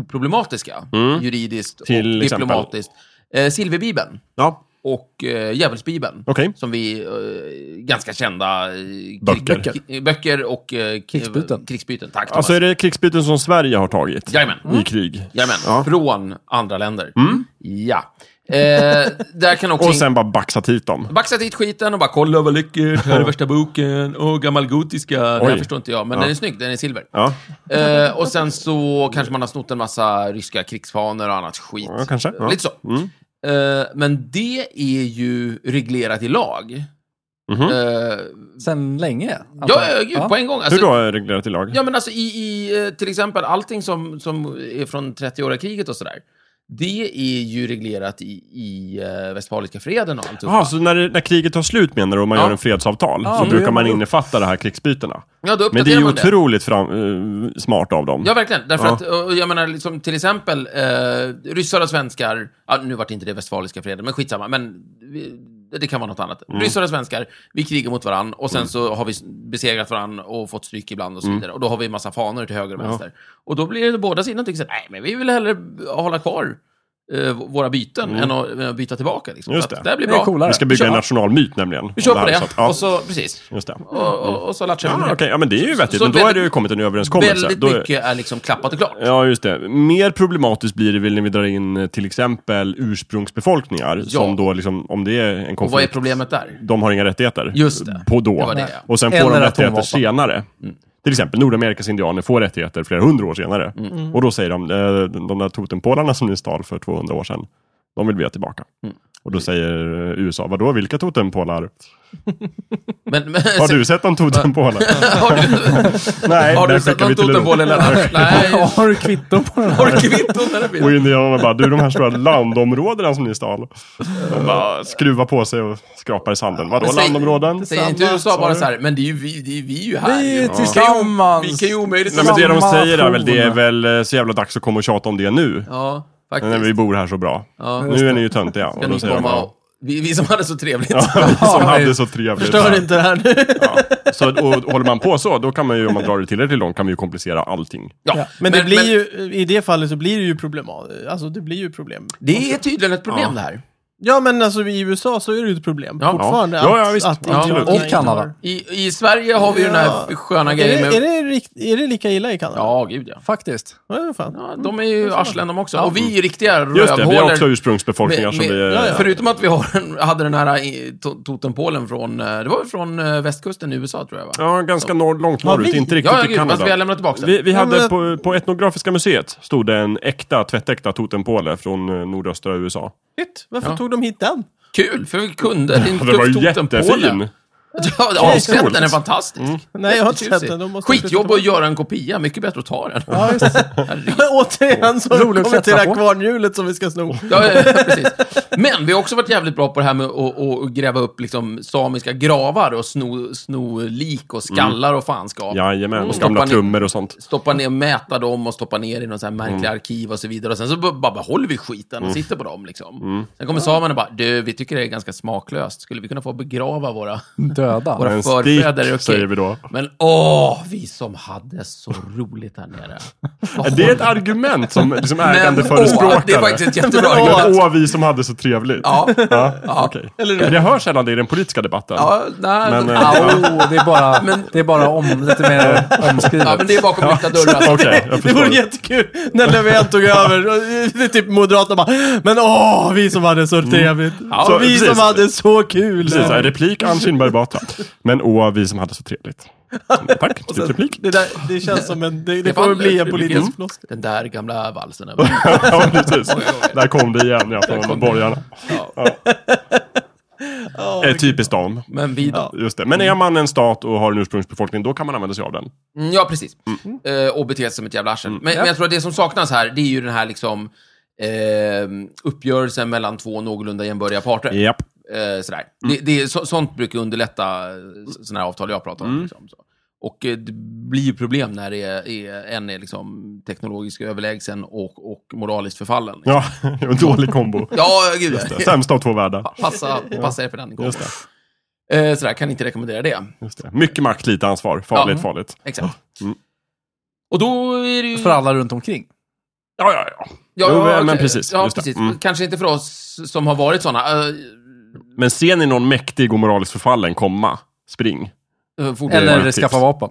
B: oproblematiska.
C: Mm.
B: Juridiskt
C: Till
B: och
C: exempel?
B: diplomatiskt. Eh, Silverbibeln
C: ja,
B: och eh, Djävulsbibeln.
C: okej. Alltså,
B: Som vi, eh, ganska kända... eh, krig-
C: Böcker.
B: k- böcker och... Eh, k-
D: Krigsbyten.
B: Krigsbyten, tack Thomas.
C: Alltså är det krigsbyten som Sverige har tagit?
B: Jajamän. Mm.
C: I krig?
B: Jajamän,
C: Ja. Mm.
B: från andra länder. Ja. Eh, där kan också...
C: Och sen bara baxat hit dem?
B: Baxat hit skiten och bara kolla vad läckert, här är värsta boken, åh gammalgotiska, det här
C: Oj.
B: förstår inte jag, men
C: Ja.
B: den är snygg, den är silver.
C: Ja,
B: Eh, och sen så kanske man har snott en massa ryska krigsfanor och annat skit.
C: ja kanske. Ja.
B: Lite så.
C: Mm.
B: Eh, men det är ju reglerat i lag.
C: Mhm.
B: Eh,
D: Sen länge? antar
B: ja,
D: jag.
B: ja, gud, på en gång.
C: Hur
B: Alltså,
C: då är det reglerat i lag?
B: Ja, men alltså i, i eh, till exempel allting som, som är från 30-åriga kriget och sådär. Det är ju reglerat i, i eh, Westfaliska freden och allt.
C: Jaha, så när, det- när kriget tar slut menar du, och man
B: Ja.
C: gör en fredsavtal,
D: Ja,
C: så
D: då
C: brukar
D: gör
C: man
D: man upp-
C: innefatta det här krigsbytena?
B: ja, då
C: Men det är
B: uppdaterar
C: ju
B: man
C: otroligt fram, eh, smart av dem.
B: Ja, verkligen. Därför
C: Ja.
B: att, och jag menar, liksom, till exempel, eh, ryssar och svenskar, ja, nu vart det inte det Westfaliska freden, men skitsamma, men vi, det kan vara något annat.
C: Mm.
B: Ryssar och svenskar, vi krigar mot varann och sen så har vi s- besegrat varann och fått stryk ibland och så
C: Mm.
B: vidare. Och då har vi en massa fanor till höger och vänster. Och då blir det båda sidorna tycker så här, nej, men vi vill hellre b- hålla kvar eh, våra byten än, att, än att byta tillbaka. Liksom.
C: Mm. Just
B: Så att
C: det.
B: det här blir
D: Det är
B: bra.
D: coolare.
C: Vi ska bygga en
B: Ja.
C: nationalmyt nämligen.
B: Vi kör
C: Om
B: på
C: här,
B: det,
C: så att- Ja,
B: och så, precis.
C: just det.
B: Och, och, och så latchar vi
C: Ah,
B: med
C: Okej,
B: det.
C: ja, men det är ju vettigt.
B: så
C: Men då har
B: väldigt-
C: det ju kommit en överenskommelse.
B: Väldigt
C: Då är-
B: mycket är liksom klappat och klart.
C: Ja, just det. Mer problematiskt blir det väl när vi drar in eh, till exempel ursprungsbefolkningar, som då liksom, om det är en
B: Och vad är
C: konflikt,
B: problemet där?
C: de har inga rättigheter.
B: Just det.
C: På då.
B: Det var det, ja.
C: Och sen
D: Eller
C: får de
D: atomvapen.
C: rättigheter senare.
B: Mm.
C: Till exempel Nordamerikas indianer får rättigheter flera hundra år senare.
B: Mm.
C: Och då säger de, eh, de där totempålarna som ni stal för 200 år sedan, de vill vi ha tillbaka.
B: Mm.
C: Och då säger eh, USA, vadå, vilka totempålar?
B: Men, men,
C: Har du sett någon totempålar?
B: Har du,
C: Nej,
B: Alltså, har
C: den
B: du sett
C: skickar
B: någon
C: vi till
B: totempål
C: Europa.
B: eller? Nej,
D: Har du kvitton på den?
B: har du kvitton eller?
C: Och
B: bild?
C: indianerna bara, du de här stora landområdena som ni stal. De bara skruvar på sig och skrapar i sanden. Vadå
B: Men säg-
C: landområden?
B: Säger inte
A: Samma,
B: USA bara
C: sa
B: så här, men det är ju vi, det är vi ju här.
D: Vi
B: ju.
D: är
B: Ja.
D: tillsammans.
B: Vi kan ju omöjligt...
C: Nej, men det de
D: Samma
C: säger är väl, det är
D: ton.
C: väl eh, så jävla dags att komma och tjata om det nu.
B: Ja,
C: När vi
B: faktiskt.
C: bor här så bra.
B: Ja.
C: Nu är ni ju töntiga. Och
B: Kan
C: då
B: ni
C: säger de,
B: komma
C: bara,
B: och... Vi, vi som hade så trevligt.
C: som hade så trevligt.
A: Förstör inte det här nu.
C: Ja. Så, och, och håller man på så, då kan man ju, om man drar det tillräckligt långt, kan man ju komplicera allting.
B: Ja,
A: Men det blir ju, i det fallet så blir det ju problem. Alltså det blir ju problem.
B: Det är tydligen ett problem
C: Ja.
B: det här.
A: Ja men alltså i USA så är det ju ett problem
B: Ja.
A: fortfarande.
C: Ja. Ja, ja,
A: att-
C: visst.
A: att
C: Ja,
A: indianerna
C: absolut.
A: inte
D: Och Kanada.
A: har-
B: I, I Sverige har vi ju den här
A: Ja.
B: sköna
A: Är
B: grejen
A: det, är,
B: med...
A: det, rikt- är det lika illa i Kanada?
B: Ja, gud ja.
D: Faktiskt.
A: Ja, fan.
B: ja. De är ju arslen de också. Och vi är ju riktiga
C: Just det, vi har också
B: rövhålor.
C: ursprungsbefolkningar
B: Med,
C: som vi...
B: med,
C: eh,
B: Förutom att vi har, en- hade den här eh, to- totempålen från, eh, det var väl från eh, västkusten i USA tror jag va?
C: Ja, ganska norr, långt
A: Har
C: norrut.
A: vi?
C: Inte riktigt
B: Ja, ja
C: i
B: gud,
C: Kanada.
B: fast vi har lämnat tillbaka den.
C: Vi, vi
A: Ja,
C: hade
A: men-
C: på, på Etnografiska museet stod det en äkta, tvättäkta totempåle från eh, nordöstra USA.
A: Shit, varför
B: Ja.
A: tog de hit den?
B: Kul, för vi kunde. Det är en
C: Den var
B: tuff totempåle.
C: jättefin! Mm.
B: Ja, jag har inte sett den, är fantastisk.
A: Nej, jag har inte
B: Tjusig.
A: sett den. Då måste jag
B: Skitjobb
A: försöka-
B: att göra en kopia, mycket bättre att ta den.
A: Ja, just det.
B: Herregud.
A: Men Återigen så
D: Rolig att
A: kommer vi till det
D: klättra
A: här
D: på.
A: kvarnhjulet som vi ska sno.
B: Ja, ja, ja, precis. Men vi har också varit jävligt bra på det här med att, att, att gräva upp liksom, samiska gravar och sno, sno lik och skallar
C: Mm.
B: och fanskap.
C: Jajamän, och
B: Mm.
C: gamla
B: Stoppar ni-
C: trummor och sånt.
B: Stoppa ner, mäta dem och stoppa ner i någon så här märklig
C: Mm.
B: arkiv och så vidare. Och sen så b- bara behåller vi skiten och sitter på dem liksom.
C: Mm.
B: Sen kommer samerna och bara, du, vi tycker det är ganska smaklöst. Skulle vi kunna få begrava våra,
D: Döda.
B: våra
C: En stik,
B: förfäder? Okej.
C: säger vi då.
B: Men åh, vi som hade så roligt här nere.
C: Är det ett argument som liksom ägande
B: åh,
C: förespråkare?
B: det är faktiskt ett jättebra
C: Men
B: argument.
C: Åh, vi som hade så trevligt.
B: Ja,
C: Ja,
B: Ja.
C: okej. Men Jag hör sällan det i den politiska debatten.
B: ja, nej,
C: Men, eh,
B: ja,
D: Oh, det, är bara, det är bara om, lite mer omskrivet.
B: ja, men det är bakom lyckta
C: Okej,
B: dörrar.
C: jag
A: Det vore
C: förstår.
A: jättekul när Löfven tog över. Och Det är typ Moderaterna bara, men åh, vi som hade så trevligt.
C: Ja,
A: Så vi
C: precis.
A: som hade så kul.
C: Precis, så här, replik Ann Kinberg Batra. Men åh, vi som hade så trevligt. Tack, till replik.
A: Det, där, det känns som en, det, det
B: Det
A: kommer
B: faller,
A: bli en
B: det blir
A: politisk
B: en-
A: floskel.
B: Den där gamla valsen.
C: Ja, precis. Där kom det igen, ja, från borgarna. Ja. Eh, Typiskt dem.
B: Men vi då?
C: Just det. Men är man en stat och har en ursprungsbefolkning, då kan man använda sig av den.
B: Mm, Ja, precis. Eh, och bete sig som ett jävla arsel. Men, men jag tror att det som saknas här, det är ju den här liksom eh, uppgörelsen mellan två någorlunda jämbördiga parter.
C: Japp.
B: Eh, sådär. Det, det, är så, sånt brukar underlätta eh, så- sådana här avtal jag pratar om. Liksom, så. Och eh, det blir ju problem när det är, är, en är liksom teknologiskt överlägsen och, och moraliskt förfallen. Liksom.
C: Ja, det var en dålig kombo.
B: Ja, gud.
C: Sämsta av två världar.
B: Passa, passa er för den.
C: Just det.
B: Eh, sådär, kan inte rekommendera det.
C: Just det. Mycket makt, lite ansvar. Farligt,
B: Ja.
C: farligt.
B: Exakt. Och då är det ju...
D: För alla runt omkring.
C: Ja, ja, ja.
B: Ja,
C: Jo,
B: ja,
C: men
B: okej.
C: precis,
B: Ja,
C: just det.
B: precis.
C: Mm.
B: Kanske inte för oss som har varit sådana. Uh,
C: Men ser ni någon mäktig och moraliskt förfallen komma, spring.
B: eller
C: är
D: Eller
C: ett
D: skaffa
C: tips.
D: vapen.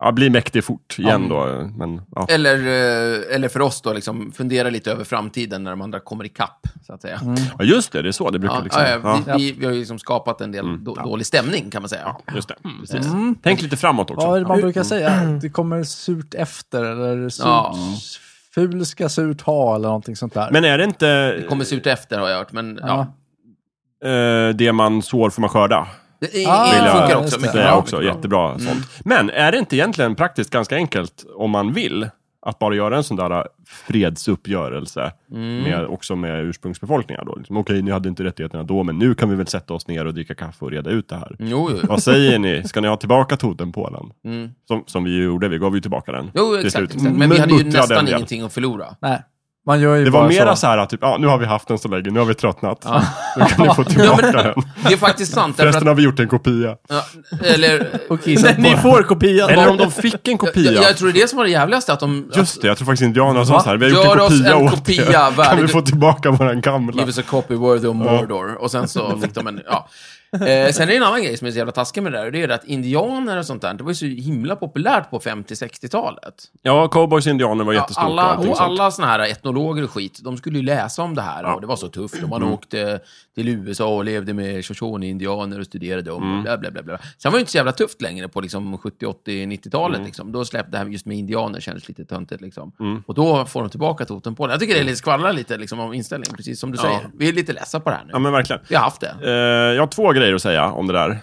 C: Ja, bli mäktig fort igen då. Men, ja.
B: eller, eh, eller för oss då, liksom, fundera lite över framtiden när de andra kommer ikapp, så att säga.
D: Mm.
C: ja, just det. Det är så det brukar
B: Ja,
C: liksom.
B: ja,
C: Ja,
B: Vi, vi, vi har ju liksom skapat en del då, dålig stämning, kan man säga.
C: just det.
B: Mm.
C: Precis. Tänk lite framåt också.
D: Vad är det man
C: Ja.
D: brukar säga? Det kommer surt efter eller surt,
B: Ja.
D: ful ska surt ha eller någonting sånt där.
C: Men är det inte
B: Kommer se ut efter, har jag hört, men ja.
D: Ja.
C: eh, det man sår får man skörda?
B: Det, i- i-
D: Ah,
B: det funkar
D: just
B: också
D: det.
B: mycket
C: Det är
B: bra.
C: också jättebra sånt. Men är det inte egentligen praktiskt ganska enkelt om man vill att bara göra en sån där eh, fredsuppgörelse
B: Mm.
C: med, också med ursprungsbefolkningar då? Liksom, Okej, ni hade inte rättigheterna då, men nu kan vi väl sätta oss ner och dricka kaffe och reda ut det här.
B: Jo, jo.
C: Vad säger ni? Ska ni ha tillbaka Totenpålen?
B: Mm.
C: Som, som vi ju gjorde, vi gav ju tillbaka den.
B: Jo,
C: till
B: exakt,
C: slut.
B: exakt. Men vi hade ju
C: muttrade
B: nästan
C: en del.
B: ingenting att förlora.
D: Nej, man gör ju
C: Det
D: bara
C: var mera
D: så.
C: så här att typ, ja, nu har vi haft den så länge, nu har vi tröttnat. Nu kan ni få tillbaka den.
B: Det är faktiskt sant, därför
C: Förresten
B: att...
C: har vi gjort en kopia.
B: Ja, eller...
D: Och kissa
A: Nej,
D: på
A: ni får kopian.
C: Eller om de fick en kopia.
B: Jag, jag tror det är det som var det jävligaste, att de...
C: Just det, jag tror faktiskt indianerna sa
D: Va?
C: så här. Vi har gjort
B: Gör
C: en
B: oss
C: kopia
B: en
C: åt
B: kopia,
C: er. Kan vi
B: värdig-
C: få tillbaka våran
B: Give
C: gamla?
B: us a copy worthy of Mordor. Och sen så fick de en, ja. Eh, sen är det en annan grej som är så jävla taskig med det där. och Det är det att indianer och sånt där, det var ju så himla populärt på 50-60-talet.
C: Ja, cowboys och indianer var
B: Ja,
C: jättestort och
B: alla,
C: allting
B: och
C: sånt.
B: alla såna här etnologer och skit, de skulle ju läsa om det här. Och det var så tufft. Och man
C: Mm.
B: åkte eh, till USA och levde med shoshone-indianer och studerade om
C: Mm.
B: och bla, bla, bla, bla. Sen var det inte så jävla tufft längre på liksom 70, 80, 90-talet.
C: Mm.
B: Liksom. Då släppte det här just med indianer, kändes lite töntigt. Liksom. Och då får de tillbaka toten på det. Jag tycker det är lite skvallrar lite liksom, om inställningen, precis som du säger. Vi är lite ledsa på det här nu.
C: Ja, men verkligen.
B: Vi har haft det.
C: Eh, jag har två grejer att säga om det där.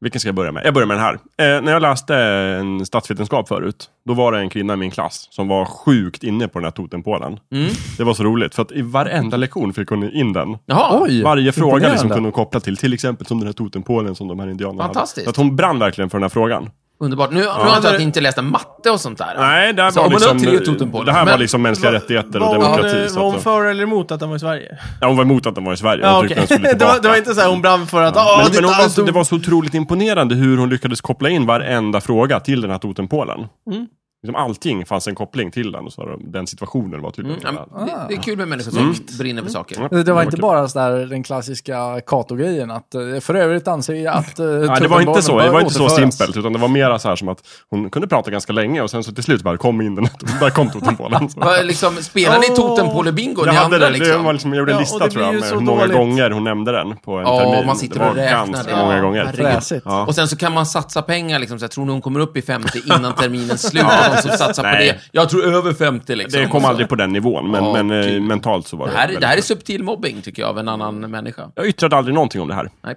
C: Vilken ska jag börja med? Jag börjar med den här. Eh, när jag läste en statsvetenskap förut, då var det en kvinna i min klass som var sjukt inne på den här totempålen.
B: Mm.
C: Det var så roligt, för att i varenda lektion fick hon in den.
B: Jaha,
D: Oj!
C: Varje fråga liksom
D: imponerande.
C: kunde hon koppla till, till exempel som den här totempålen som de här indianerna
B: Fantastiskt.
C: hade. Så att hon brann verkligen för den här frågan.
B: underbart. Nu, nu har jag inte- inte läst en matte och sånt där.
C: Nej, det här,
B: Så
C: var
B: om man
C: liksom,
B: upp till det toten på
C: det här
B: den.
C: var
B: Men-
C: liksom mänskliga rättigheter och
A: Var hon,
C: demokrati.
A: eh,
C: så
A: var hon
C: att de-
A: för eller emot att han var i Sverige?
C: Ja, hon var emot att den var i Sverige.
A: Ja,
C: hon tyckte
A: okej.
C: den skulle
A: det, var,
C: tillbaka.
A: det var inte så här hon brann för att, ja, alltså,
C: men, men hon var, så-
A: det
C: det var så otroligt imponerande hur hon lyckades koppla in varenda fråga till den här totempålen.
A: Mm.
C: Liksom allting fanns en koppling till den, och så har de- den situationen var tydligen.
A: Mm,
B: Ja, men det, det är kul med människor som
C: Mm.
B: brinner för saker.
C: Ja,
D: Det var inte
C: kul.
D: bara så där den klassiska Cato-grejen att eh, för övrigt anser jag att... eh,
C: Nej, det var inte så, det
D: bör
C: var inte så
D: återföras.
C: simpelt, utan det var mera så här som att hon kunde prata ganska länge och sen så till slut bara kom in den, här- där kom totempålen. Så.
B: Vad, Liksom, spelar ni
A: Åh.
B: Totempåle-bingo,
C: Jag
B: ni
C: hade
B: andra
C: det,
B: liksom?
C: det var liksom, jag gjorde en
A: Ja, och
C: lista
A: det
C: tror jag,
A: blir ju
C: med
A: så
C: hur många
A: dåligt.
C: gånger hon nämnde den på en
B: Ja,
C: termin.
B: man sitter
C: det var
B: och räknar
C: ganska
B: det.
C: många
B: Ja,
C: gånger.
B: herregud.
D: Fräsigt.
C: Ja.
B: Och sen så kan man satsa pengar, liksom, så jag tror hon kommer upp i 50 innan terminens slut. och de som satsar på
C: Nej.
B: det, jag tror över 50 liksom.
C: Det kom
B: Så-
C: aldrig på den nivån, men,
B: Ja,
C: men eh,
B: kul.
C: mentalt så var
B: det
C: det.
B: här,
C: väldigt
B: det här är
C: bra.
B: subtil mobbing, tycker jag, av en annan människa.
C: Jag yttrade aldrig någonting om det här.
B: Nej.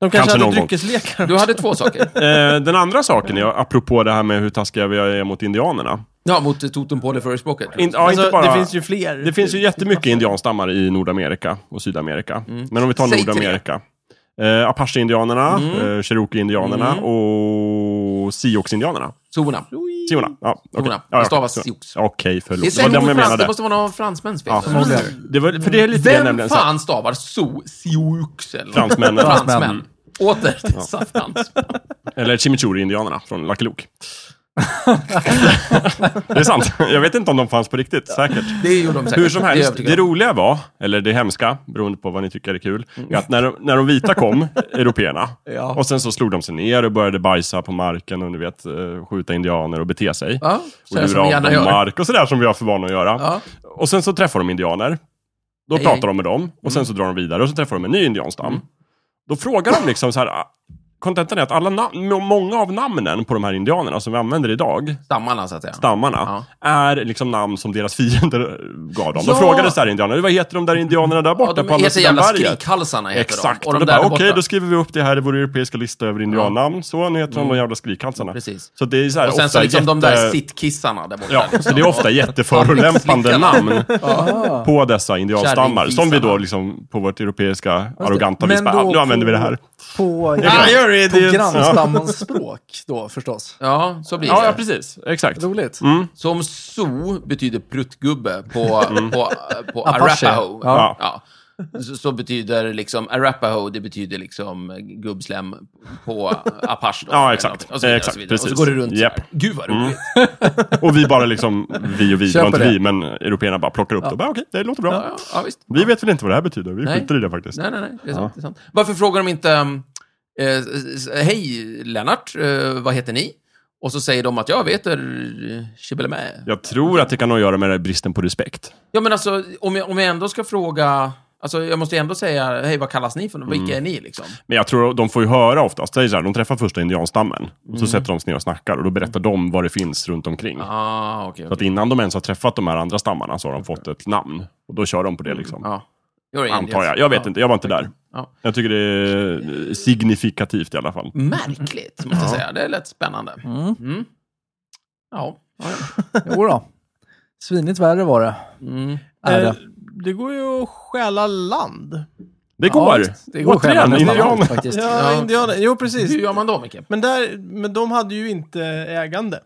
A: De kanske,
C: Kanske någon
A: hade
C: gång.
A: dryckeslekar.
B: Du hade två saker.
C: Eh, den andra saken, ja, apropå det här med hur taskiga vi är mot indianerna.
B: Ja, mot eh, Totempåle Förespråket.
C: In, ja,
A: alltså,
C: inte bara,
A: Det finns ju fler.
C: det finns ju jättemycket indianstammar i Nordamerika och Sydamerika. Men om vi tar
B: Mm. Säg tre. Mm.
C: Nordamerika. Eh, Apache-indianerna, eh, Cherokee-indianerna och Sioux-indianerna.
B: Zonerna.
C: Siona. Ja, okej.
B: Siona.
C: Ja,
B: Det
C: ja,
B: stavas
C: Siona.
B: Sioux.
C: Okej,
B: Det, är
C: förlåt. Det var
B: säkert
C: den jag
B: någon frans, det
C: menade.
B: alltså, måste vara någon fransmäns fel.
C: Ja. Det var, för det är lite det
B: Vem
C: nämligen. så-
B: fan stavar so Sioux? eller något?
C: Fransmännen.
B: Fransmän. Åter till saffrans.
C: Eller Chimichurri-indianerna från Lucky Luke. det är sant. Jag vet inte om de fanns på riktigt, säkert.
B: Det gjorde de säkert.
C: Hur som
B: Det är jag
C: helst,
B: övertygad
C: det
B: om.
C: roliga var, eller det hemska, beroende på vad ni tycker är kul, är att när de, när de vita kom, européerna,
B: Mm. Ja.
C: och sen så slog de sig ner och började bajsa på marken och ni vet, eh, skjuta indianer och bete sig.
B: Ja,
C: och
B: sådär som vi
C: lura av
B: gärna
C: dem
B: gör.
C: mark och sådär som vi har för vana att göra.
B: Ja.
C: Och sen så träffar de indianer. Då
B: Hej,
C: pratar
B: hej.
C: de
B: Mm.
C: med dem och sen så drar de vidare och så träffar de en ny indianstam. Då frågar de liksom så här, ah, kontentan är att alla nam- må- många av namnen på de här indianerna som vi använder idag,
B: Stammarna, så att säga.
C: stammarna, är liksom namn som deras fiender gav dem.
B: Ja.
C: De frågade så här indianerna, vad heter de där indianerna där borta
B: Ja, de
C: på andra
B: heter
C: sidan
B: jävla
C: berget?
B: Skrikhalsarna. Heter
C: Exakt,
B: De.
C: och,
B: Och de
C: då bara
B: där
C: okej,
B: borta.
C: då skriver vi upp det här i vår europeiska lista över indiannamn. Så, nu heter de de jävla skrikhalsarna.
B: Mm. Precis.
C: Så det är så här,
B: Och sen så
C: ofta
B: liksom de där
C: jätte-
B: sittkissarna där borta.
C: Ja, så
B: liksom.
C: det är ofta jätteförolämpande namn
D: Ah.
C: på dessa indianstammar. Som vi då
B: Kärringfisarna. liksom
C: liksom på vårt europeiska arroganta
D: Men
C: vis bara,
D: då
C: ah, nu använder vi det
D: på-
C: här.
D: På,
A: Ah,
D: gran,
A: you're
D: på
A: idiots.
D: grannstammens språk då förstås.
B: Ja, så blir
C: Ja, ja,
B: det.
C: precis. Exakt.
D: Roligt.
C: Mm.
B: Så om so betyder pruttgubbe på,
C: Mm.
B: på, på
D: Apache.
B: Arapaho.
D: Ja.
B: Ja. Så, så betyder liksom Arapaho, det betyder liksom gubbslem på Apache. Då,
C: Ja,
B: eller
C: exakt.
B: någonting. Och så, vidare,
C: Exakt,
B: och så, vidare. och så
C: precis.
B: går det runt så här.
C: Japp. Mm.
B: Gud vad roligt.
C: Och vi bara liksom, vi och vi, det var
D: Köper
C: inte
D: det.
C: vi, men européerna bara plockar upp det och bara okej, det låter bra.
B: Ja, ja, visst.
C: Vi vet väl inte vad det här betyder, vi
B: Nej.
C: skiter i det faktiskt.
B: Nej, nej, nej. Det är, sant, det är sant. Varför frågar de inte um, eh, s- s- Hej Lennart, eh, vad heter ni? Och så säger de att jag heter eh, Chibelemä.
C: Jag tror att det kan ha att göra med den här bristen på respekt.
B: Ja, men alltså, om jag, om jag ändå ska fråga... Alltså, jag måste ju ändå säga, hej, vad kallas ni för? Vilka är
C: Mm.
B: ni, liksom?
C: Men jag tror de får ju höra oftast, det är så här, de träffar första indianstammen, och så sätter de sig ner och snackar och då berättar de vad det finns runt omkring.
B: Ah, okej.
C: Så att
B: Okay,
C: innan de ens har träffat de här andra stammarna så har de fått ett namn. Och då kör de på det liksom.
B: Mm. ja. You're
C: Antar
B: Indians.
C: jag. Jag vet
B: Ja.
C: inte, jag var inte där.
B: Ja.
C: Jag tycker det är signifikativt i alla fall.
B: Märkligt, måste jag säga. Det är lätt spännande.
D: Mm.
B: Mm. Ja. ja, ja.
D: Jo då. Svinigt värre var det.
B: Mm.
D: Är
A: Eh,
D: det.
A: det går ju att stjäla land.
C: Det går!
D: Ja, det går själva
C: Återigen,
D: nästan
C: indian.
D: allt faktiskt.
A: Ja,
B: Ja.
A: indianer. Jo, precis.
B: Hur gör man då, Micke?
A: Men, där, men de hade ju inte ägande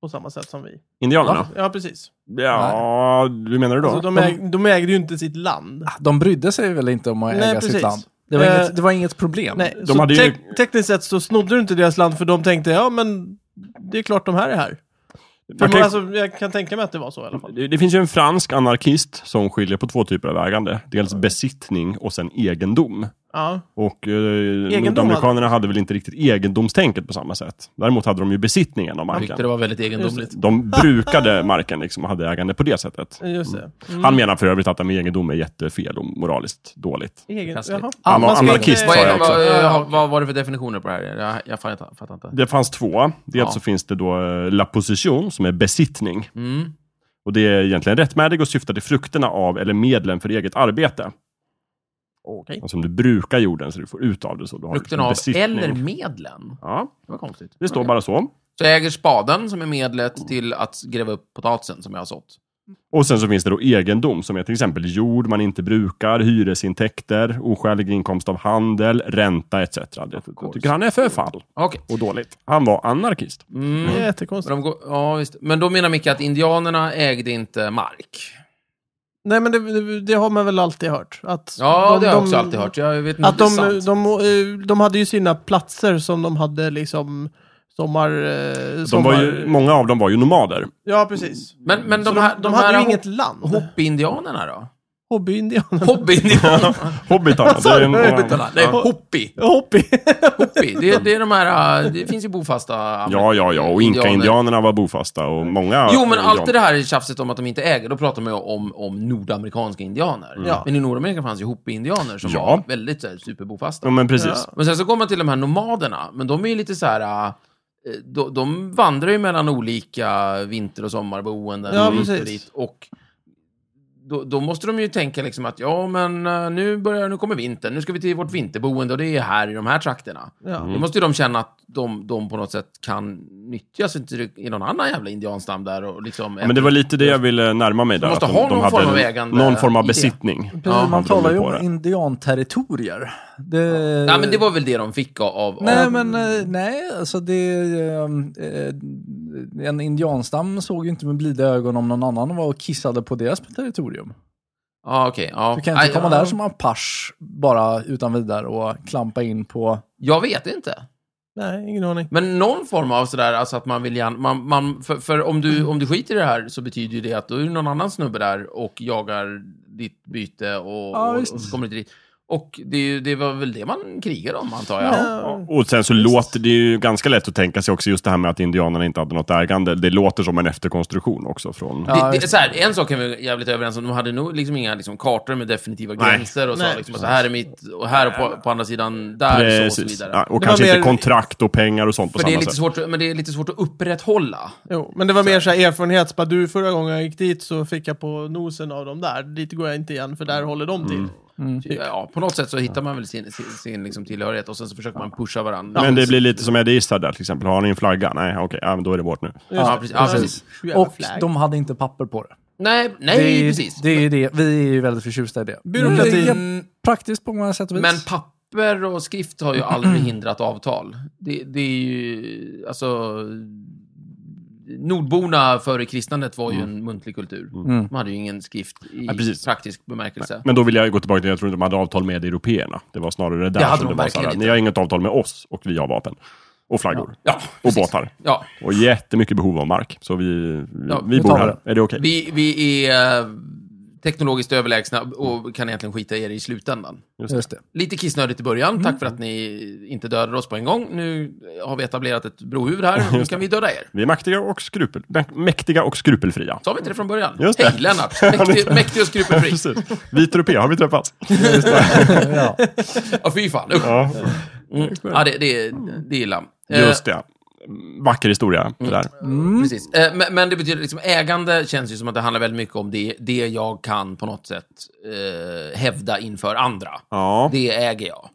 A: på samma sätt som vi.
C: Indianerna?
A: Ja, precis.
C: Ja, hur menar du då?
A: Alltså, de, äg, de ägde ju inte sitt land.
D: Ah, De brydde sig väl inte om att
A: Nej,
D: äga
A: precis.
D: sitt land? Det var,
A: Eh,
D: inget, det var inget problem.
A: Nej,
C: de
A: så
C: hade ju-
A: tek- tekniskt sett så snodde du inte deras land för de tänkte, ja men det är klart de här är här. För
C: Man kan-
A: alltså, jag kan tänka mig att det var så i alla fall.
C: Det, det finns ju en fransk anarkist som skiljer på två typer av ägande. Dels besittning och sen egendom.
A: Ja,
C: Och eh, nordamerikanerna hade väl inte riktigt egendomstänket på samma sätt. Däremot hade de ju besittningen av
B: Jag tyckte
C: marken.
B: det var Eh, väldigt egendomligt.
C: De brukade marken liksom och hade ägande på det sättet.
A: just det.
B: Mm.
C: Han menar för övrigt att det med egendom är jättefel och moraliskt dåligt.
A: Egen...
B: Krassligt.
A: Jaha.
C: Anar-
A: Man ska inte-
C: anarkist,
B: Vad,
C: sa
B: är
C: jag
B: det,
C: också.
B: vad,
A: Ja,
B: eh, vad var det för definitioner på det här? Jag, jag fattar, fattar inte.
C: Det fanns två. Dels
B: Ja.
C: så finns det då eh, la position, som är besittning.
B: Mm.
C: Och det är egentligen rättmätig och syftar till frukterna av eller medlen för eget arbete.
A: Okej.
C: Och som du brukar jorden, så du får ut av det. Så du har
B: Frukten
C: liksom
B: av
C: besittning.
B: eller medlen?
C: Ja,
B: Det var konstigt.
C: det står
B: Okej.
C: bara så.
B: Så jag äger spaden som är medlet till att gräva upp potatisen som jag har sått.
C: Och sen så finns det då egendom, som är till exempel jord man inte brukar, hyresintäkter, oskälig inkomst av handel, ränta etc. Det jag tycker han är förfall
B: Okej.
C: och dåligt. Han var anarkist.
B: Mm.
A: Det är
B: Men,
A: jättekonstigt.
B: de går, ja, visst. men då menar Micke att indianerna ägde inte mark.
A: Nej men det, det, det har man väl alltid hört. Att
B: Ja,
A: de-
B: det har jag
A: de-
B: också alltid hört. Jag vet inte
A: Att
B: om det är
A: de,
B: sant.
A: de, eh, de hade ju sina platser som de hade liksom sommar... eh,
C: De
A: sommar...
C: var ju, många av dem var ju nomader.
A: Ja, precis.
B: Men, men
A: Så
B: Mm. de, här,
A: de, hade ju
B: här
A: inget land.
B: hop- Hopi-indianerna då?
A: Hobbyindianerna.
B: Hobby-indianerna?
C: Hobbitarna. det är en-
B: Nej, hoppi.
A: Hobby.
B: hoppi. Det, det är de här... äh, Det finns ju bofasta... äh,
C: Ja, ja, ja. Och inka-indianerna var bofasta och många...
B: Jo, men allt det
C: där...
B: här tjafset om att de inte äger, då pratar man ju om, om nordamerikanska indianer.
A: Ja.
B: Men i Nordamerika fanns ju hopi-indianer som
C: Ja.
B: var väldigt så här, superbofasta.
C: Ja, men precis.
B: Men sen så kommer man till de här nomaderna, men de är ju lite så här... äh, De, de vandrar ju mellan olika vinter och sommarboenden
A: Ja,
B: och hit och
A: precis.
B: dit. Och då, då måste de ju tänka liksom att ja, men eh, nu, börjar, nu kommer vintern, nu ska vi till vårt vinterboende och det är här i de här trakterna.
A: Ja.
B: Då måste ju de känna att de, de på något sätt kan nyttjas i i någon annan jävla indianstam där och liksom...
C: Ja, men det var lite det jag ville närma mig där.
B: måste
C: att
B: ha någon form av ägande
C: Någon form av
B: idé.
C: besittning.
B: Ja,
D: man
C: man
D: talar
C: drog
D: ju
C: på
D: om
C: det.
D: indianterritorier. Det...
B: Ja, men det var väl det de fick av... av
D: Nej,
B: av,
D: men eh, nej, alltså det... är, eh, En indianstam såg ju inte med blida ögon om någon annan var och kissade på deras territorium.
B: Ja, okej. ja.
D: Du kan inte
B: Aj,
D: komma
B: ja.
D: där som apache bara utan vidare och klampa in på...
B: Jag vet inte.
A: Nej, ingen aning.
B: Men någon form av sådär, alltså att man vill gärna... Man, man, för för om, du, om du skiter i det här så betyder ju det att då är det någon annan snubbe där och jagar ditt byte och,
D: Ja,
B: och, och
D: visst.
B: så kommer du dit. Och det, är ju- det var väl det man krigade om, antar jag.
A: Ja.
C: Och sen så låter det ju ganska lätt att tänka sig också just det här med att indianerna inte hade något ägande. Det låter som en efterkonstruktion också från...
D: Ja,
B: det, det, är
D: just
B: så här, en sak är vi jävligt överens om. De hade nog liksom inga liksom, kartor med definitiva
C: Nej.
B: gränser och sa
A: Nej.
B: liksom, att så här är mitt och här och på, på andra sidan där så och så vidare.
C: Ja, och
A: Det
C: kanske
A: var
C: inte
A: mer-
C: kontrakt och pengar och sånt på
B: För det är,
C: samma
B: lite
C: sätt.
B: svårt, men det är lite svårt att upprätthålla.
A: Jo, men det var mer så här erfarenhet. så Bara, du, förra gången jag gick dit så fick jag på nosen av dem där. Dit går jag inte igen för där håller de till.
C: Mm.
B: Ja, på något sätt så hittar man väl sin, sin, sin liksom tillhörighet och sen så försöker man pusha varandra.
C: Men det blir lite som Edistar där till exempel. Har ni en flagga? Nej, okej, ja, men då är det bort nu.
B: Ja, precis. Ja, precis.
A: Jävla
D: Och
A: flagg.
D: de hade inte papper på det.
B: Nej, nej
D: det är, ju-
B: precis.
D: Det är ju det. Vi är ju väldigt förtjusta i det.
A: Byråkrati.
D: Det är Praktiskt på många sätt och vis.
B: Men papper och skrift har ju aldrig hindrat avtal. Det, det är ju, alltså... Nordborna före kristandet var ju
D: Mm.
B: en muntlig kultur. De hade ju ingen skrift i
C: Ja, precis.
B: praktisk bemärkelse.
C: Men då vill jag ju gå tillbaka till, jag tror inte de hade avtal med européerna. Det var snarare det där
B: Det hade
C: som
B: de
C: det var
B: verkligen
C: så här,
B: inte.
C: ni har inget avtal med oss och vi har vapen. Och flaggor.
B: Ja,
C: och
B: precis.
C: båtar.
B: Ja,
C: Och jättemycket behov av mark. Så vi,
B: Ja,
C: vi
D: vi
C: bor
D: tar
C: här.
D: det.
C: Är det okej?
B: vi, vi är eh, teknologiskt överlägsna och kan egentligen skita i det i slutändan.
D: Just det.
B: Lite kissnödigt i början, tack
D: Mm.
B: för att ni inte dödade oss på en gång. Nu har vi etablerat ett brohuvud här, nu kan vi döda er.
C: Vi är maktiga och, skrupel, mä- mäktiga och skrupelfria.
B: Sa vi inte det från början?
C: Just det.
B: Hej Lennart, mäktig, mäktig och skrupelfri.
C: Precis. Vit europé, har vi träffats?
D: ja.
B: Ja, fy fan. Usch.
C: Ja,
B: Mm. Ja, det, det, det är illa. Eh, Mm.
C: just det. Vacker historia, det där.
B: Precis. Eh, Men, men det betyder liksom, ägande känns ju som att det handlar väldigt mycket om det, det jag kan på något sätt eh, hävda inför andra.
C: Ja. Mm.
B: Det äger jag.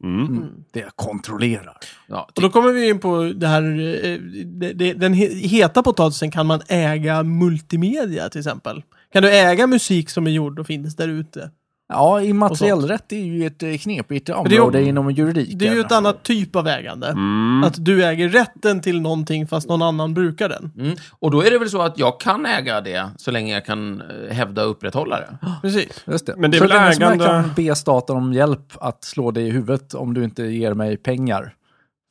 D: Det jag kontrollerar.
B: Ja, typ.
A: Och då kommer vi in på det här, eh, det, det, den he- heta potatisen, kan man äga multimedia till exempel? Kan du äga musik som är gjord och finns där ute?
D: Ja, immateriell rätt är ju ett eh, knepigt
A: det är ju-
D: område inom juridiken.
A: Det är ju ett annat typ av ägande. Att du äger rätten till någonting fast någon annan brukar den.
B: Mm. Och då är det väl så att jag kan äga det så länge jag kan eh, hävda och upprätthålla det.
A: Precis.
D: Just det.
C: Men det är
D: Så
C: väl
D: länge som
C: ägande-
D: jag kan be staten om hjälp att slå dig i huvudet om du inte ger mig pengar.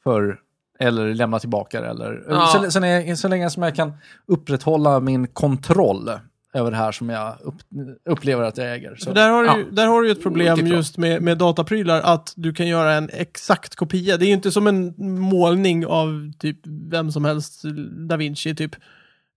D: För, eller lämna tillbaka det. Eller,
B: Ja.
D: så, så, länge, så länge som jag kan upprätthålla min kontroll över det här som jag upp, upplever att jag äger. Så.
A: För där, har du,
B: Ja.
A: ju- där har du ju ett problem
B: Mycket bra.
A: just med, med dataprylar, att du kan göra en exakt kopia. Det är ju inte som en målning av typ vem som helst, da Vinci typ,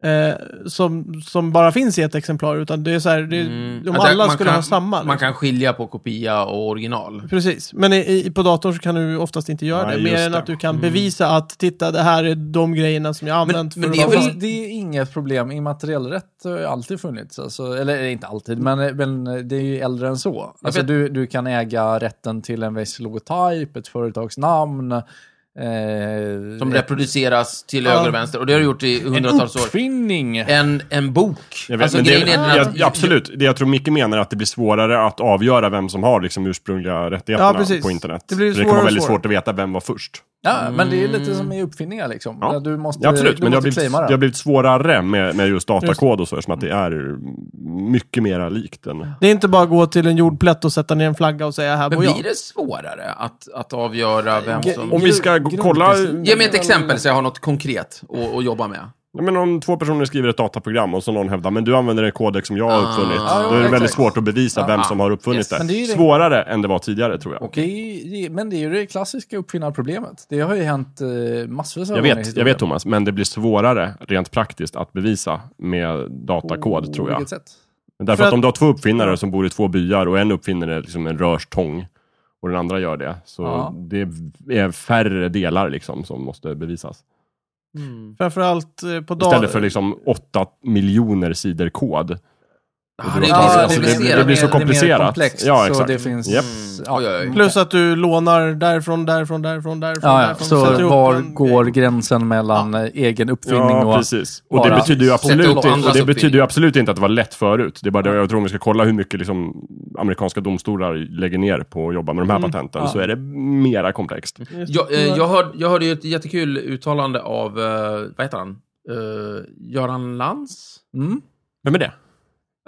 A: eh, som, som bara finns i ett exemplar, utan det är så här, det, om
B: Att jag-
A: alla
B: Mm. man
A: skulle
B: kan,
A: ha samma. liksom.
B: Man kan skilja på kopia och original.
A: Precis, men i, i, på datorn så kan du oftast inte göra
C: Nej,
A: det, mer
C: just
A: än
C: det.
A: att du kan bevisa att titta, det här är de grejerna som jag har använt
B: Mm. men
A: för
B: det är
A: att
B: väl-
A: vara-
D: Fast det är inget problem. Immateriell rätt har ju alltid funnits. Alltså, eller eh, inte alltid, men, men det är ju äldre än så. Alltså,
B: vet-
D: du, du kan äga rätten till en viss logotyp, ett företagsnamn. Eh,
B: Som reproduceras till
A: Ja.
B: höger och vänster. Och det har det gjort i hundratals år.
D: uppfinning!
B: En, en bok. Alltså,
C: Jag vet, men det,
B: grejen är den
C: jag,
B: att-
C: ja, absolut, det jag tror Micke menar är att det blir svårare att avgöra vem som har liksom ursprungliga rättigheterna
A: precis.
C: på internet.
A: Det blir
C: För det kan
A: svårare
C: vara
A: och
C: väldigt
A: svårare.
C: svårt att veta vem var först.
D: Ja, men det är lite som i uppfinningar liksom.
C: Ja.
D: Där Du måste,
C: Ja, absolut,
D: du
C: men det har, blivit,
D: måste claima
C: det
D: det.
C: har blivit svårare med, med just datakod och så, eftersom att det är mycket mera likt än...
A: Det är inte bara att gå till en jordplätt och sätta ner en flagga och säga här
B: Men
A: bor jag.
B: blir det svårare att, att avgöra vem
D: Ge-
B: som...
C: Om vi ska gå- kolla...
D: Grundprincip.
B: Ge mig ett exempel så jag har något konkret att, att jobba med.
C: Ja, men om två personer skriver ett dataprogram och så någon hävdar men du använder en kodex som jag har
B: Ah.
C: uppfunnit.
B: Ja,
C: då är det
D: exakt.
C: väldigt svårt att bevisa vem som har uppfunnit
B: Yes.
C: det.
D: Men det är ju det-
C: Svårare än det var tidigare tror jag.
D: Det är, ju- men det är ju det klassiska uppfinnarproblemet. Det har ju hänt eh, massvis av
C: Jag
D: gånger i
C: vet, jag
D: historien.
C: vet Thomas, men det blir svårare rent praktiskt att bevisa med datakod tror
D: På
C: jag.
D: vilket sätt?
C: Därför
A: För
C: att
A: att-
C: om du har två uppfinnare som bor i två byar och en uppfinner liksom en rörstång och den andra gör det, så
D: Ja.
C: det är färre delar liksom som måste bevisas.
A: Framförallt eh, på datorn.
C: Istället för liksom åtta miljoner sidor kod
B: Ja, det, är
C: Ja,
B: alltså,
C: det blir-
B: komplicerat.
C: det blir så
D: mer-
C: komplicerat.
D: mer komplext,
C: Ja,
D: Så
C: exakt.
D: det finns...
C: Japp.
B: Oj, oj, oj.
A: Plus att du lånar därifrån, därifrån, därifrån, därifrån.
D: Ja, ja.
A: därifrån. Sätter
D: Så
A: ihop
D: var
A: en
D: går
A: grej.
D: gränsen mellan eh, egen uppfinning
C: Ja,
D: och...
C: precis. Och det
D: bara
C: betyder ju absolut,
B: sätta upp
C: inte,
B: andras
C: och det betyder
B: uppfinningar.
C: ju absolut inte att det var lätt förut. Det är bara det jag tror om vi ska kolla hur mycket liksom, amerikanska domstolar lägger ner på att jobba med de här patenten, så är det mera komplext.
B: Jag, eh, jag, hörde, jag hörde ju ett jättekul uttalande av, eh, vad heter han? Eh, Göran Lantz?
D: Mm.
C: Vem är det?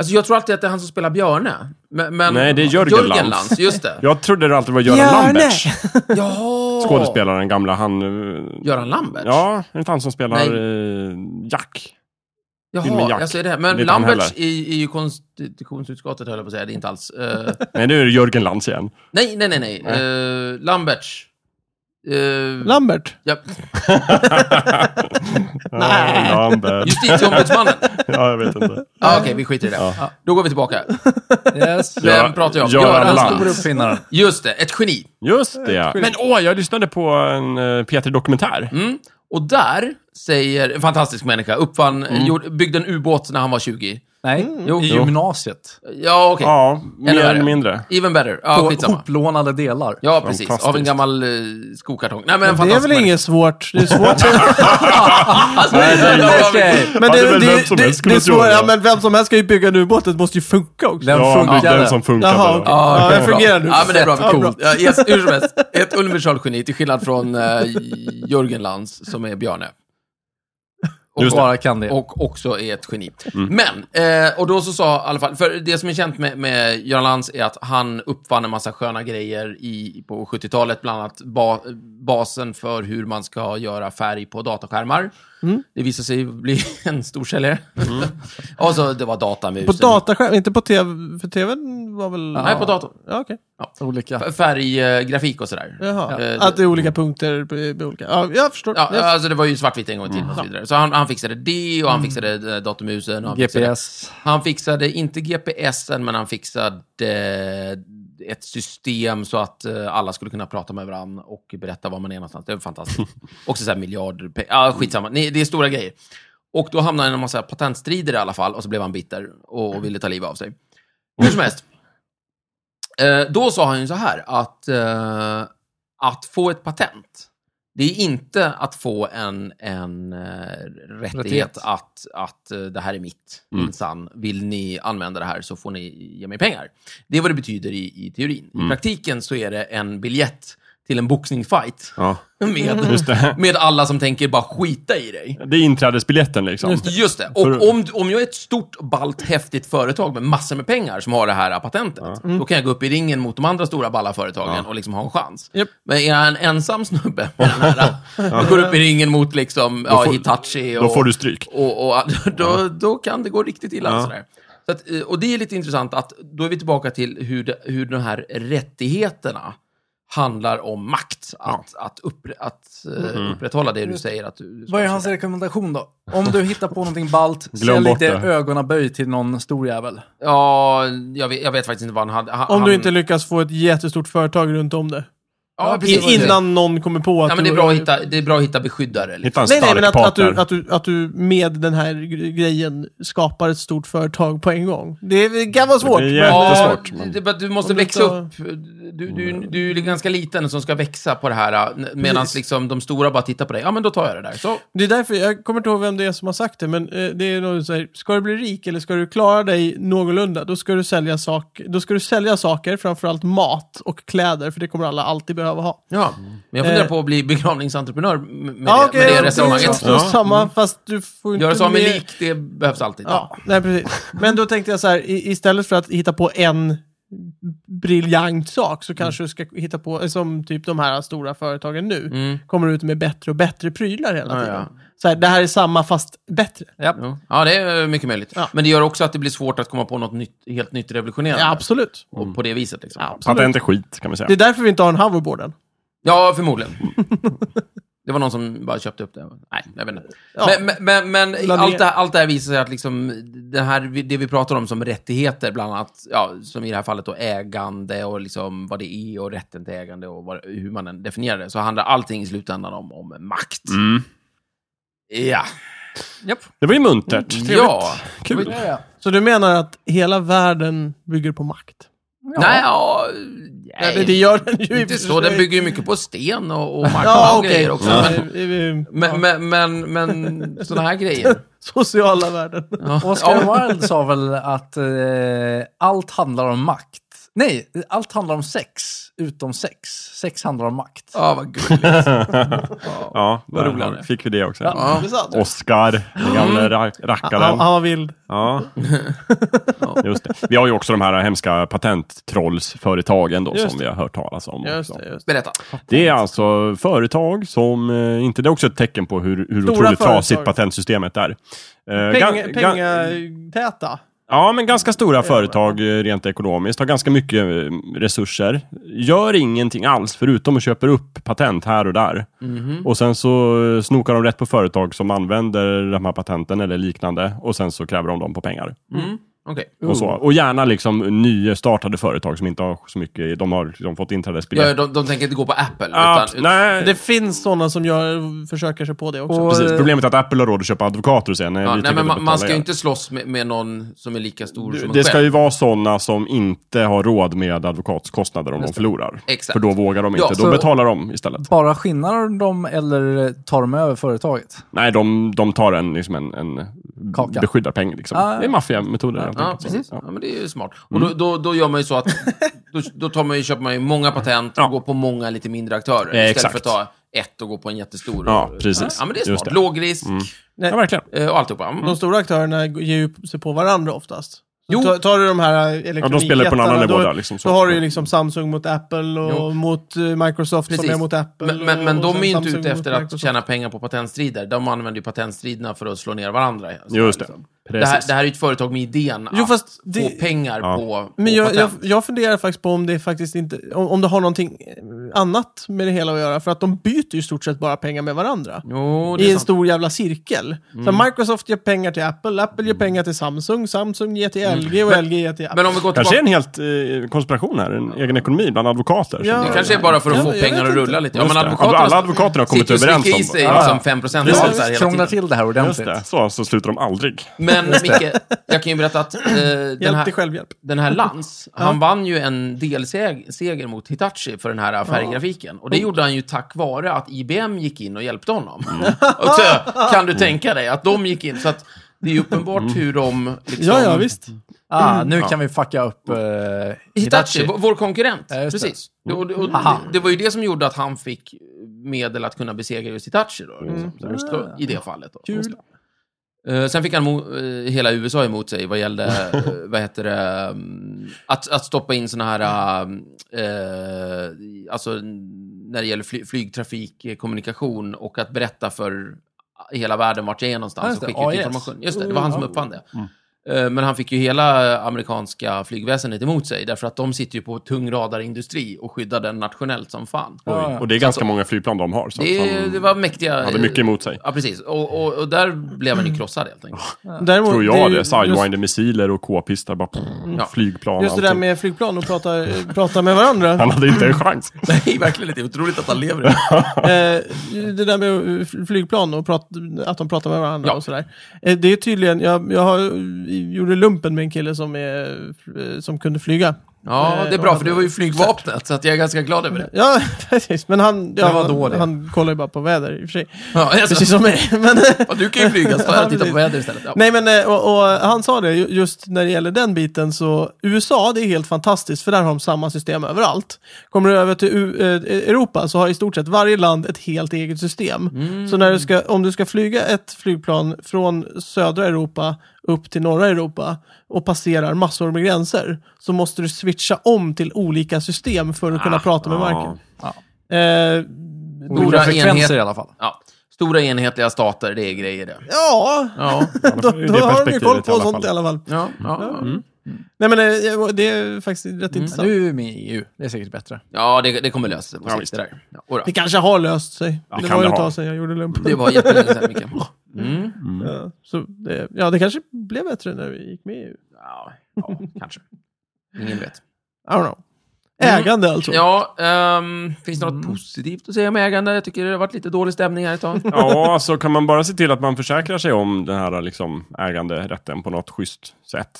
B: Alltså jag tror alltid att det är han som spelar Björne. Men, men,
C: Nej, det är Jörgen Lantz.
B: just det.
C: Jag trodde det alltid var Göran
A: Björne!
C: Lambertz,
B: Jaha!
C: skådespelaren gamla. Han... eh,
B: Göran Lambert?
C: Ja, är det inte han som spelar
B: Nej.
C: eh, Jack? filmen
B: Jaha,
C: Jack.
B: jag ser det.
C: Det
B: Men
C: är inte han
B: Lamberts
C: heller.
B: i, i konstitutionsutskottet höll jag på att säga, det är inte alls. Eh,
C: Nej, nu är det Jörgen Lantz igen.
B: nej, nej, nej, nej.
C: Nej.
B: Eh, Lamberts. Uh,
A: Lambert.
B: ja,
A: Nej.
C: Lambert.
B: justitieombudsmannen. Ja,
C: Ja, jag vet inte.
B: ah, okej, vi skiter i det.
C: Ja.
B: Då går vi tillbaka.
D: Yes.
B: Vem
C: Göran-
B: pratar jag om?
C: Göran
B: Göran
C: Lantz.
D: Stor
B: Lantz.
D: uppfinnare.
B: Just det, ett geni.
C: Just det, ja. Men åh, jag lyssnade på en uh, P3 Dokumentär.
B: Mm. Och där säger, en fantastisk människa, uppfann,
C: Mm.
B: eh, gjorde, byggde en ubåt när han var 20.
D: Nej,
B: Jo.
D: i gymnasiet.
B: Ja, okej.
C: Ja, mer
B: värre.
C: eller mindre.
B: Even better. Ja,
D: På
B: skitsamma.
D: hoplånade delar.
B: Ja, precis. Av en
C: Fantastiskt.
B: gammal eh, skokartong. Nej, men
A: Det
B: en
A: är
B: fantastisk
A: väl inget svårt. Det är svårt.
B: Alltså,
D: Okej.
A: Men
C: Hade
A: det,
C: väl
A: det,
C: vem
A: det,
C: som
A: det,
C: helst kunnat
A: är svårt.
C: göra det.
A: Ja, men vem som helst ska ju bygga en ubåt. Det måste ju funka också.
D: Den
C: Ja,
D: funkade.
C: den som funkade.
A: Jaha,
C: då.
A: okej. Ja, den fungerar nu.
B: Ja, men det är bra.
A: Ja,
B: Coolt. Ja, yes, hur som helst, ett universalgeni till skillnad från eh, Jörgen Lands som är Bjarne. Och,
C: Just det.
D: Bara kan det.
B: och också är ett geni.
A: Mm.
B: Men, eh, och då så sa i alla fall, för det som är känt med, med Göran Lands är att han uppfann en massa sköna grejer i, på 70-talet, bland annat ba, basen för hur man ska göra färg på dataskärmar.
A: Mm.
B: Det visade sig bli en storsäljare. och så, det var
A: På
B: datamusen.
A: dataskärm, inte på tv. För tvn var väl...
B: Nej, på datorn.
A: Ja, okej.
D: Olika.
B: Färggrafik eh, och sådär.
A: Jaha.
B: Eh,
A: Att det är olika punkter på, på olika... Ja, jag förstår.
B: Ja,
A: Yes.
B: alltså det var ju svartvitt en gång till och så vidare. Så han, han fixade det och han
A: Mm.
B: fixade eh, datormusen. Och han Fixade,
D: GPS.
B: han fixade inte GPSen, men han fixade eh, ett system så att eh, alla skulle kunna prata med varandra och berätta var man är någonstans. Det var fantastiskt. Också så här miljarder pengar. Ah, skitsamma, Ni, det är stora grejer. Och då hamnade han i en massa patentstrider i alla fall och så blev han bitter och, och ville ta livet av sig. Hur som helst. Eh, då sa han ju så här att eh, att få ett patent, det är inte att få en, en eh, rättighet,
D: Rättighet.
B: att, att eh, det här är mitt,
C: Mm.
B: minsann. Vill ni använda det här så får ni ge mig pengar. Det är vad det betyder i, i teorin. I
C: Mm.
B: praktiken så är det en biljett till en boxningsfight
C: Ja,
B: med,
C: just det.
B: med alla som tänker bara skita i dig.
C: Det är inträdesbiljetten liksom.
B: Just det. Och
C: För-
B: om, om jag är ett stort, ballt, häftigt företag med massor med pengar som har det här patentet,
C: Mm.
B: då kan jag gå upp i ringen mot de andra stora, balla företagen och liksom ha en chans.
A: Japp.
B: Men är jag en ensam snubbe med den här, och går upp i ringen mot liksom, ja,
C: får-
B: Hitachi och,
C: Då får du stryk.
B: och, och då, då kan det gå riktigt illa.
C: Ja.
B: Sådär. Så att, eh, och det är lite intressant att då är vi tillbaka till hur, det, hur de här rättigheterna handlar om makt. Att, att, upp, att eh,
C: Mm-hmm.
B: upprätthålla det du säger att du...
D: Vad är hans rekommendation då? Om du hittar på någonting ballt,
C: Glöm
D: sälj
C: bort
D: det
C: det.
D: ögonaböj till någon stor jävel.
B: Ja, jag vet, jag vet faktiskt inte vad han hade. Han,
A: Om
B: han-
A: du inte lyckas få ett jättestort företag runt om det.
B: ja, precis,
A: In, innan någon kommer på att
B: Ja, men det är
A: du-
B: bra att hitta, det är bra att hitta beskyddare. Liksom.
C: Hitta en
A: Nej, nej,
C: stark
A: men att, att,
C: partner.
A: du, att, du, att du med den här gre- grejen skapar ett stort företag på en gång. Det kan vara svårt.
C: Det är
A: men-
C: jävligt svårt. men- Mm.
B: det, det, du måste
A: Om du
B: växa upp.
A: inte-
B: Du, du, du är ganska liten som ska växa på det här. Medan liksom, de stora bara tittar på dig. Ja, men då tar jag det där. Så,
A: Det är därför, jag kommer inte ihåg vem det är som har sagt det, men eh, det är någon så här, ska du bli rik eller ska du klara dig någorlunda, då ska du sälja, sak, då ska du sälja saker, framförallt mat och kläder, för det kommer alla alltid behöva ha.
B: ja. Men jag funderar
A: Eh. på
B: på att bli begravningsentreprenör med,
A: Ja,
B: det,
A: okej,
B: med
A: ja,
B: det resonemanget.
A: det är Samma, fast du får inte
B: Göra sig av med
A: mer-
B: lik, det behövs alltid.
A: Ja, nej precis. Men då tänkte jag så här, i, istället för att hitta på en briljant sak så kanske du ska hitta på, eh, som typ de här stora företagen nu, kommer ut med bättre och bättre prylar hela
B: Mm. Ja,
A: tiden.
B: ja.
A: Så här, det här är samma fast bättre.
B: Ja. ja, det är mycket möjligt.
A: Ja.
B: Men det gör också att det blir svårt att komma på något nytt, helt nytt revolutionerande.
A: Ja, absolut.
B: och på det viset. Liksom.
A: Ja, absolut.
C: Patent är skit, kan vi säga.
A: Det är därför vi inte har en hoverboard än.
B: Ja, förmodligen. Det var någon som bara köpte upp det. Nej, jag vet inte.
A: Ja.
B: Men, men, men, men
A: ner.
B: allt, det här, allt det här visar sig att liksom, det, här, det vi pratar om som rättigheter, bland annat, ja, som i det här fallet då ägande och liksom vad det är och rätten till ägande och vad, hur man än definierar det, så handlar allting i slutändan om, om makt.
C: Mm.
B: Ja.
C: Det var ju muntert. Trevligt.
A: Mm.
B: Ja.
C: Kul.
D: Ja, ja.
A: Så du menar att hela världen bygger på makt?
B: Nej, ja,
A: Nej, det,
B: nej.
A: det gör den ju i
B: inte
A: och för
B: så. Den
A: sig.
B: bygger ju mycket på sten och, och mark
A: Ja,
B: och
A: okej.
B: grejer också.
A: Ja,
B: Men,
A: eh, eh,
B: men, men, men, men sådana här grejer.
A: Sociala värden.
B: Ja.
D: Oscar Wilde sa väl att eh, allt handlar om makt. Nej, allt handlar om sex, utom sex. Sex handlar om makt.
B: Ja, vad gulligt. Ja.
C: Ja,
B: Vad roligt
C: där
B: det är.
C: fick vi det också.
A: Ja, Mm.
B: Ja.
A: intressant.
C: Oscar, den gamle ra
A: Han, han
C: rackaren.
A: var vild.
C: Ja. Just det. Vi har ju också de här hemska patenttrollsföretagen då,
A: Just
C: som vi har hört talas om.
A: Just
C: också.
A: det, just det.
B: Berätta.
C: Det är alltså företag som, eh, inte det är också ett tecken på hur,
A: Stora
C: hur otroligt
A: företag.
C: trasigt patentsystemet är. Eh,
A: Peng,
C: ga- ga-
A: pengatäta.
C: Ja, men ganska stora företag eh, rent ekonomiskt har ganska mycket eh, resurser. Gör ingenting alls förutom att köpa upp patent här och där.
A: Mhm.
C: Och sen så eh, snokar de rätt på företag som använder de här patenten eller liknande och sen så kräver de dem på pengar.
B: Mm. Okej.
C: Och, så. och gärna liksom nystartade företag som inte har så mycket, de har liksom fått
B: Ja,
C: inträdesbiljett.
B: de, de tänker inte gå på Apple.
C: Ja,
B: utan,
C: nej,
A: Det finns sådana som gör, försöker sig på det också.
D: Och-
C: precis. Problemet är att Apple har råd att köpa advokater och säga nej,
B: ja,
C: vi
B: nej,
C: tänker
B: men man,
C: betala
B: man ska ju
C: er.
B: inte slåss med, med någon som är lika stor som en
C: Det ska
B: själv.
C: ju vara sådana som inte har råd med advokatskostnader om de förlorar.
B: Exakt.
C: För då vågar de inte.
B: Ja,
C: Då
B: så-
C: betalar de istället.
D: Bara skinnar de eller tar de över företaget?
C: Nej, de, de tar en, liksom en, en
D: Kaka.
C: beskyddarpeng. Liksom.
D: Ah, ja.
C: Det är maffiametoder. helt
B: Ja,
C: enkelt.
B: precis.
C: Ja.
B: Ja, men det är ju smart.
C: Mm.
B: Och då, då, då gör man ju så att då, då tar man ju, köper man ju många patent och går på många lite mindre aktörer.
C: Eh,
B: istället
C: exakt.
B: för att ta ett och gå på en jättestor.
C: Ja, precis.
B: Ja, men det är
C: Just
B: smart.
C: det. Mm.
B: Låg risk
C: ja, verkligen.
B: eh, och alltihopa. Mm.
A: De stora aktörerna ger ju sig på varandra oftast. Så
B: Jo.
A: ta- Tar du de här elektronikjättarna,
C: Ja, de spelar på en annan nivå
A: då,
C: där. Liksom, så.
A: då har du ju liksom Samsung mot Apple och
B: Jo.
A: mot eh, Microsoft
B: Precis.
A: som är mot Apple.
B: Men, men, men
A: och
B: de
A: sen
B: är ju inte
A: Samsung
B: ute
A: mot
B: efter att
A: Microsoft.
B: tjäna pengar på patentstrider. De använder ju patentstriderna för att slå ner varandra. Så
C: Just det.
B: liksom. Det här,
C: Precis.
B: det här är ju ett företag med idén att
A: Jo, fast det-
B: få pengar
C: Ja.
B: på,
A: Men
B: på
A: jag, jag,
B: patent.
A: jag funderar faktiskt på om det faktiskt inte, om, om det har någonting eh, annat med det hela att göra. För att de byter ju i stort sett bara pengar med varandra.
B: Jo, det
A: I
B: är
A: en
B: sant. Mm.
A: stor jävla cirkel. Så Microsoft ger pengar till Apple, Apple ger pengar till Samsung, Samsung ger till LG och LG ger till Apple.
B: Mm. Men om vi går
C: Kanske är
B: tillbaka...
C: en helt eh, konspiration här. En egen ekonomi bland advokater.
A: Ja.
B: Det kanske är bara för att
A: Ja,
B: få
A: jag
B: pengar
A: vet
B: att rulla
A: inte.
B: lite. Ja,
C: Just
B: men
C: det.
B: advokaterna
C: Alla advokater har kommit
B: sitter ju och
C: överens
B: slickar
C: om.
B: i sig
C: Ja,
B: liksom 5 procent
D: Ja,
B: av
C: Precis.
B: allt det här hela
D: krånglar
B: tiden.
D: till det här
C: Just
D: ordentligt.
C: det. Så, så slutar de aldrig.
B: Men Micke, jag kan ju berätta att eh, den,
A: Hjälp till
B: här,
A: självhjälp.
B: den här Lans, han vann ju en delseger mot Hitachi för den här färggrafiken. Och det gjorde han ju tack vare att IBM gick in och hjälpte honom.
C: Mm.
B: Och så, kan du tänka dig att de gick in? Så att det är ju
C: Mm.
B: uppenbart hur de... Liksom,
A: Ja, ja, visst.
D: Ah, nu kan vi fucka upp eh,
B: Hitachi,
D: Hitachi.
B: vår- vår konkurrent.
D: Ja, just det. Mm.
B: Precis. Det. Och, och, det, det var ju det som gjorde att han fick medel att kunna besegra just Hitachi då. Liksom.
D: Mm.
B: Så, så, I det fallet. Då.
A: Kul.
B: Eh, sen fick han mo- eh, hela USA emot sig vad gällde, eh, vad heter det, mm, att, att stoppa in såna här, eh, eh, alltså när det gäller fly- flygtrafik, eh, kommunikation och att berätta för hela världen vart jag är
D: Ja,
B: någonstans
D: just
B: och
D: det.
B: skicka ut
D: AIS.
B: information. Just det, det var han som uppfann det. Eh, Men han fick ju hela amerikanska flygväsendet emot sig, därför att de sitter ju på tung radarindustri och skyddar den nationellt som fan.
D: Ja,
C: Oj.
D: ja.
C: Och det är ganska många flygplan de har. Så att
B: Det,
C: de
B: det var mäktiga...
C: hade mycket emot sig.
B: Ja, precis. Och, och, och där blev han ju krossad helt enkelt.
A: Däremot,
C: Tror
A: är
C: jag
A: ju
C: det.
A: just-
C: Sidewinder-missiler och k-pistar. Bara,
B: Ja.
C: Flygplan
A: Just det där
C: allting.
A: med flygplan och prata, prata med varandra.
C: Han hade inte en chans.
B: Nej, verkligen inte. Otroligt att han lever i
A: Eh, det där med eh, flygplan och prat, att de pratar med varandra
B: Ja.
A: och sådär. Eh, det är tydligen, jag, jag har, eh, gjorde lumpen med en kille som, är, eh, som kunde flyga.
B: Ja, det är bra, för det var ju flygvapnet, så att jag är ganska glad över det.
A: Ja, precis. Men han, ja,
D: Det var då
A: han,
D: det.
A: han kollar ju bara på väder i och för sig.
B: Ja, alltså,
A: Precis som mig. Men, eh,
B: ja, du kan ju flyga, så tar jag och tittar på
A: Ja,
B: väder istället. Ja.
A: Nej men eh, och, och han sa det, ju- just när det gäller den biten så USA det är helt fantastiskt för där har de samma system överallt. Kommer du över till U- eh, Europa så har i stort sett varje land ett helt eget system.
C: Mm.
A: Så när du ska, om du ska flyga ett flygplan från södra Europa upp till norra Europa och passerar massor med gränser så måste du switcha om till olika system för att kunna
C: Ah.
A: prata med marken. Eh,
D: Olika
B: Stora enhet-
D: frekvenser i alla fall.
B: Ja. Stora enhetliga stater, det är grejer det.
A: ja,
B: Ja,
A: då,
C: ur
A: då
C: det
A: har de ju
C: perspektivet
A: koll
C: i
A: på
C: alla
A: sånt
C: fall.
A: i alla fall.
B: ja, ja.
A: Nej men eh, det är faktiskt rätt
C: Mm.
B: Mm.
A: intressant.
D: Nu är vi med i EU. Det är säkert bättre.
B: ja det, det kommer lösa sig på
C: Ja,
B: sikt
C: visst.
B: det där. Ja, och då.
A: Det kanske har löst sig.
C: Ja,
A: det
C: kan
A: var ju
C: det
A: ett
C: ha.
A: tag sedan jag gjorde lumpen.
B: det var jättelänge sedan, Micke. Mm.
A: Ja, så det, ja, det kanske blev bättre när vi gick med i EU.
B: Ja, ja, kanske. Ingen vet.
A: I don't know.
C: Mm.
A: Ägande alltså.
B: Ja, ehm, finns det något positivt att säga om ägande? Jag tycker det har varit lite dålig stämning här ett tag.
C: Ja, alltså kan man bara se till att man försäkrar sig om den här liksom, äganderätten på något schysst sätt,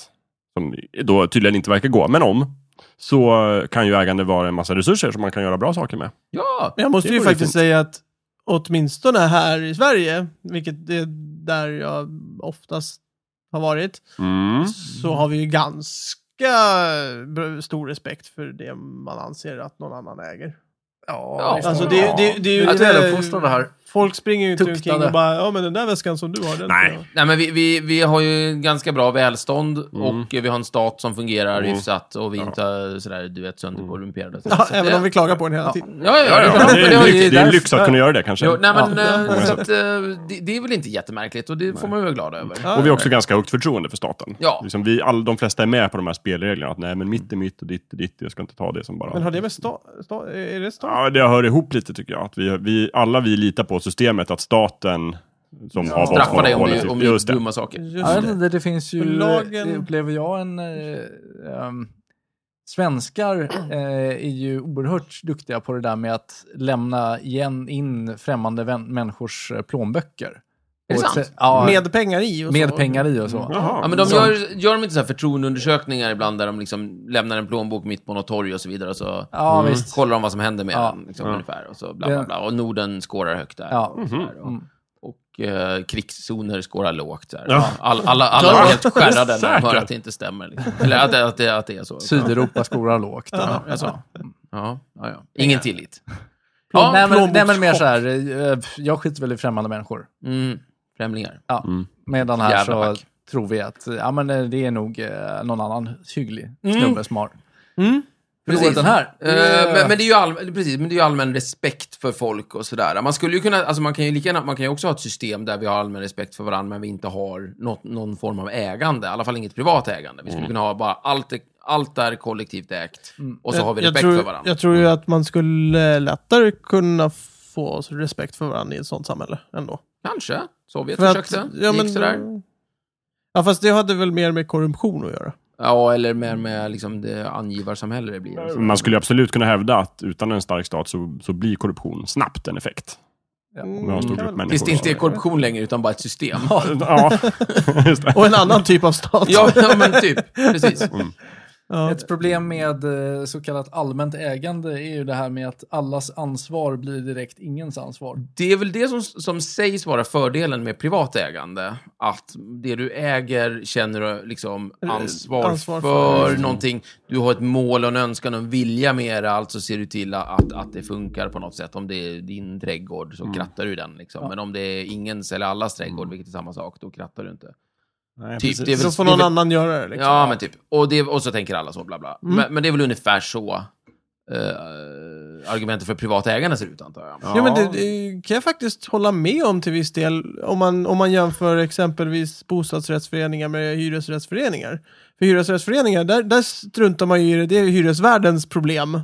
C: som då tydligen inte verkar gå, men om, så eh, kan ju ägande vara en massa resurser som man kan göra bra saker med.
B: Ja!
A: Men jag måste
C: Det
A: ju
C: vore
A: faktiskt
C: fint.
A: säga att åtminstone här i Sverige, vilket det är där jag oftast har varit,
C: Mm.
A: så har vi ju ganska br- stor respekt för det man anser att någon annan äger.
B: Ja,
D: visst.
A: Alltså det, det, det är ju...
D: Vi är rätt
A: det-
D: väluppfostrade här.
A: Folk springer ju inte
D: Tuktade.
A: omkring och bara ja men den där väskan som du har, den
C: Nej.
A: ska jag ha."
B: Nej, men vi, vi, vi har ju ganska bra välstånd
C: Mm.
B: och eh, vi har en stat som fungerar
C: Mm.
B: hyfsat och vi är inte eh, sådär, du vet, sönderkorrumperade.
A: ja, Även om vi klagar på den hela tiden.
B: Alltså, Ja, ja,
C: Ja,
B: ja.
C: ja, det
B: men det har
C: är, en
B: ju-
C: lyx, det är en
D: därför-
C: lyx att kunna göra det kanske.
B: Jo, nej, men,
A: Ja.
B: eh, så att, eh, det, det är väl inte jättemärkligt och det får man ju vara glad över.
A: Ja.
C: Och vi har också ganska högt förtroende för staten.
B: Ja.
C: Liksom vi, all, de flesta är med på de här spelreglerna. Att nej, men mitt är mitt och ditt är ditt. Jag ska inte ta det som bara...
A: Men har det med sta, sta, är det stat?
C: Ja, det hör ihop lite tycker jag. Att vi, vi, alla vi litar på systemet, att staten som har
B: Straffa dig om
C: våldsmonopolet,
B: du,
C: typ.
B: om du gör
C: Just det.
B: dumma saker.
A: Just
D: Jag vet
A: det.
D: inte, det finns ju,
A: För lagen-
D: det upplever jag, en... Eh, ehm, svenskar eh, är ju oerhört duktiga på det där med att lämna igen in främmande vän, människors eh, plånböcker.
B: Är det
D: På ett
B: sant?
D: sätt- Ja, med,
A: Med pengar i och så.
D: pengar i och så.
C: Jaha.
B: Ja, men de
D: Så-
B: gör, gör de inte så här förtroendeundersökningar ibland där de liksom lämnar en plånbok mitt på något torg och så vidare och så
D: Ja,
B: mm.
D: visst.
B: kollar de vad som händer med
D: Ja.
B: den liksom, ungefär och så bla bla
D: Det-
B: bla och Norden skårar högt där.
D: Ja.
B: Och, sådär. och,
D: Mm.
B: och eh, krigszoner skårar lågt där.
C: Ja.
B: All, alla alla
C: Ja,
B: är helt skärrade när de hör
C: säkert.
B: att det inte stämmer. Liksom. Eller att, det- att, det, att det är så.
D: Sydeuropa skorar lågt.
B: Ja, jag sa. Ja, ja, ja. Ingen tillit.
A: Ja,
D: nej, men, nej, men mer
A: plånbokschock.
D: så här, eh, jag skiter väl i främmande människor.
B: Mm. Främlingar.
D: Ja. Medan här
B: Mm. Jävla
D: så
B: pack.
D: tror vi att ja, men eh, det är nog eh, någon annan hygglig snubbe som har.
A: Mm.
D: Hur går den här?
B: Eh, men, men det är ju all, precis, men det är ju allmän respekt för folk och sådär. Man skulle ju kunna, alltså man kan ju lika gärna, man kan ju också ha ett system där vi har allmän respekt för varandra, men vi inte har något, någon form av ägande. I alla fall inget privat ägande.
A: Mm.
B: Vi skulle kunna ha bara allt, är- allt är kollektivt ägt. Och så har vi
A: jag
B: respekt
A: tror,
B: för varandra. Mm.
A: Jag tror ju att man skulle lättare kunna få oss respekt för varandra i ett sånt samhälle ändå.
B: Kanske. Sovjet
A: För att-
B: försökte.
A: ja,
B: gick
A: men-
B: sådär.
A: Ja, fast det hade väl mer med korruption att göra.
B: Ja, eller med, med liksom det angivarsamhälle det blir.
C: Man skulle ju absolut kunna hävda att utan en stark stat så, så blir korruption snabbt en effekt. Om vi har en stor
A: kan
C: grupp
A: väl-
C: människor.
B: Tills det inte är korruption längre, utan bara ett system.
C: Ja, just det.
A: Och en annan typ av stat.
B: ja, ja, men typ. Precis.
A: Ja.
D: Ett problem med eh, så kallat allmänt ägande är ju det här med att allas ansvar blir direkt ingens ansvar.
B: Det är väl det som, som sägs vara fördelen med privat ägande. Att det du äger känner du liksom ansvar,
A: ansvar för, Mm.
B: för,
A: just
B: någonting. Du har ett mål och en önskan och en vilja med det. Alltså ser du till att, att det funkar på något sätt. Om det är din trädgård
A: Mm.
B: så krattar du den. Liksom. Men om det är ingens eller allas trädgård, vilket är samma sak, då krattar du inte.
C: Nej,
B: Typ,
C: precis.
B: det är väl-
A: Då får
B: det är
A: någon
B: väl-
A: annan göra det. Liksom.
B: Ja, men typ. Och, det, och så tänker alla så, bla bla.
A: Mm.
B: Men, men det är väl ungefär så eh, argumentet för privat ägande ser ut, antar jag.
A: Ja, men det, det kan jag faktiskt hålla med om till viss del. Om man, om man jämför exempelvis bostadsrättsföreningar med hyresrättsföreningar. För hyresrättsföreningar, där, där struntar man ju i det. Det är ju hyresvärdens problem.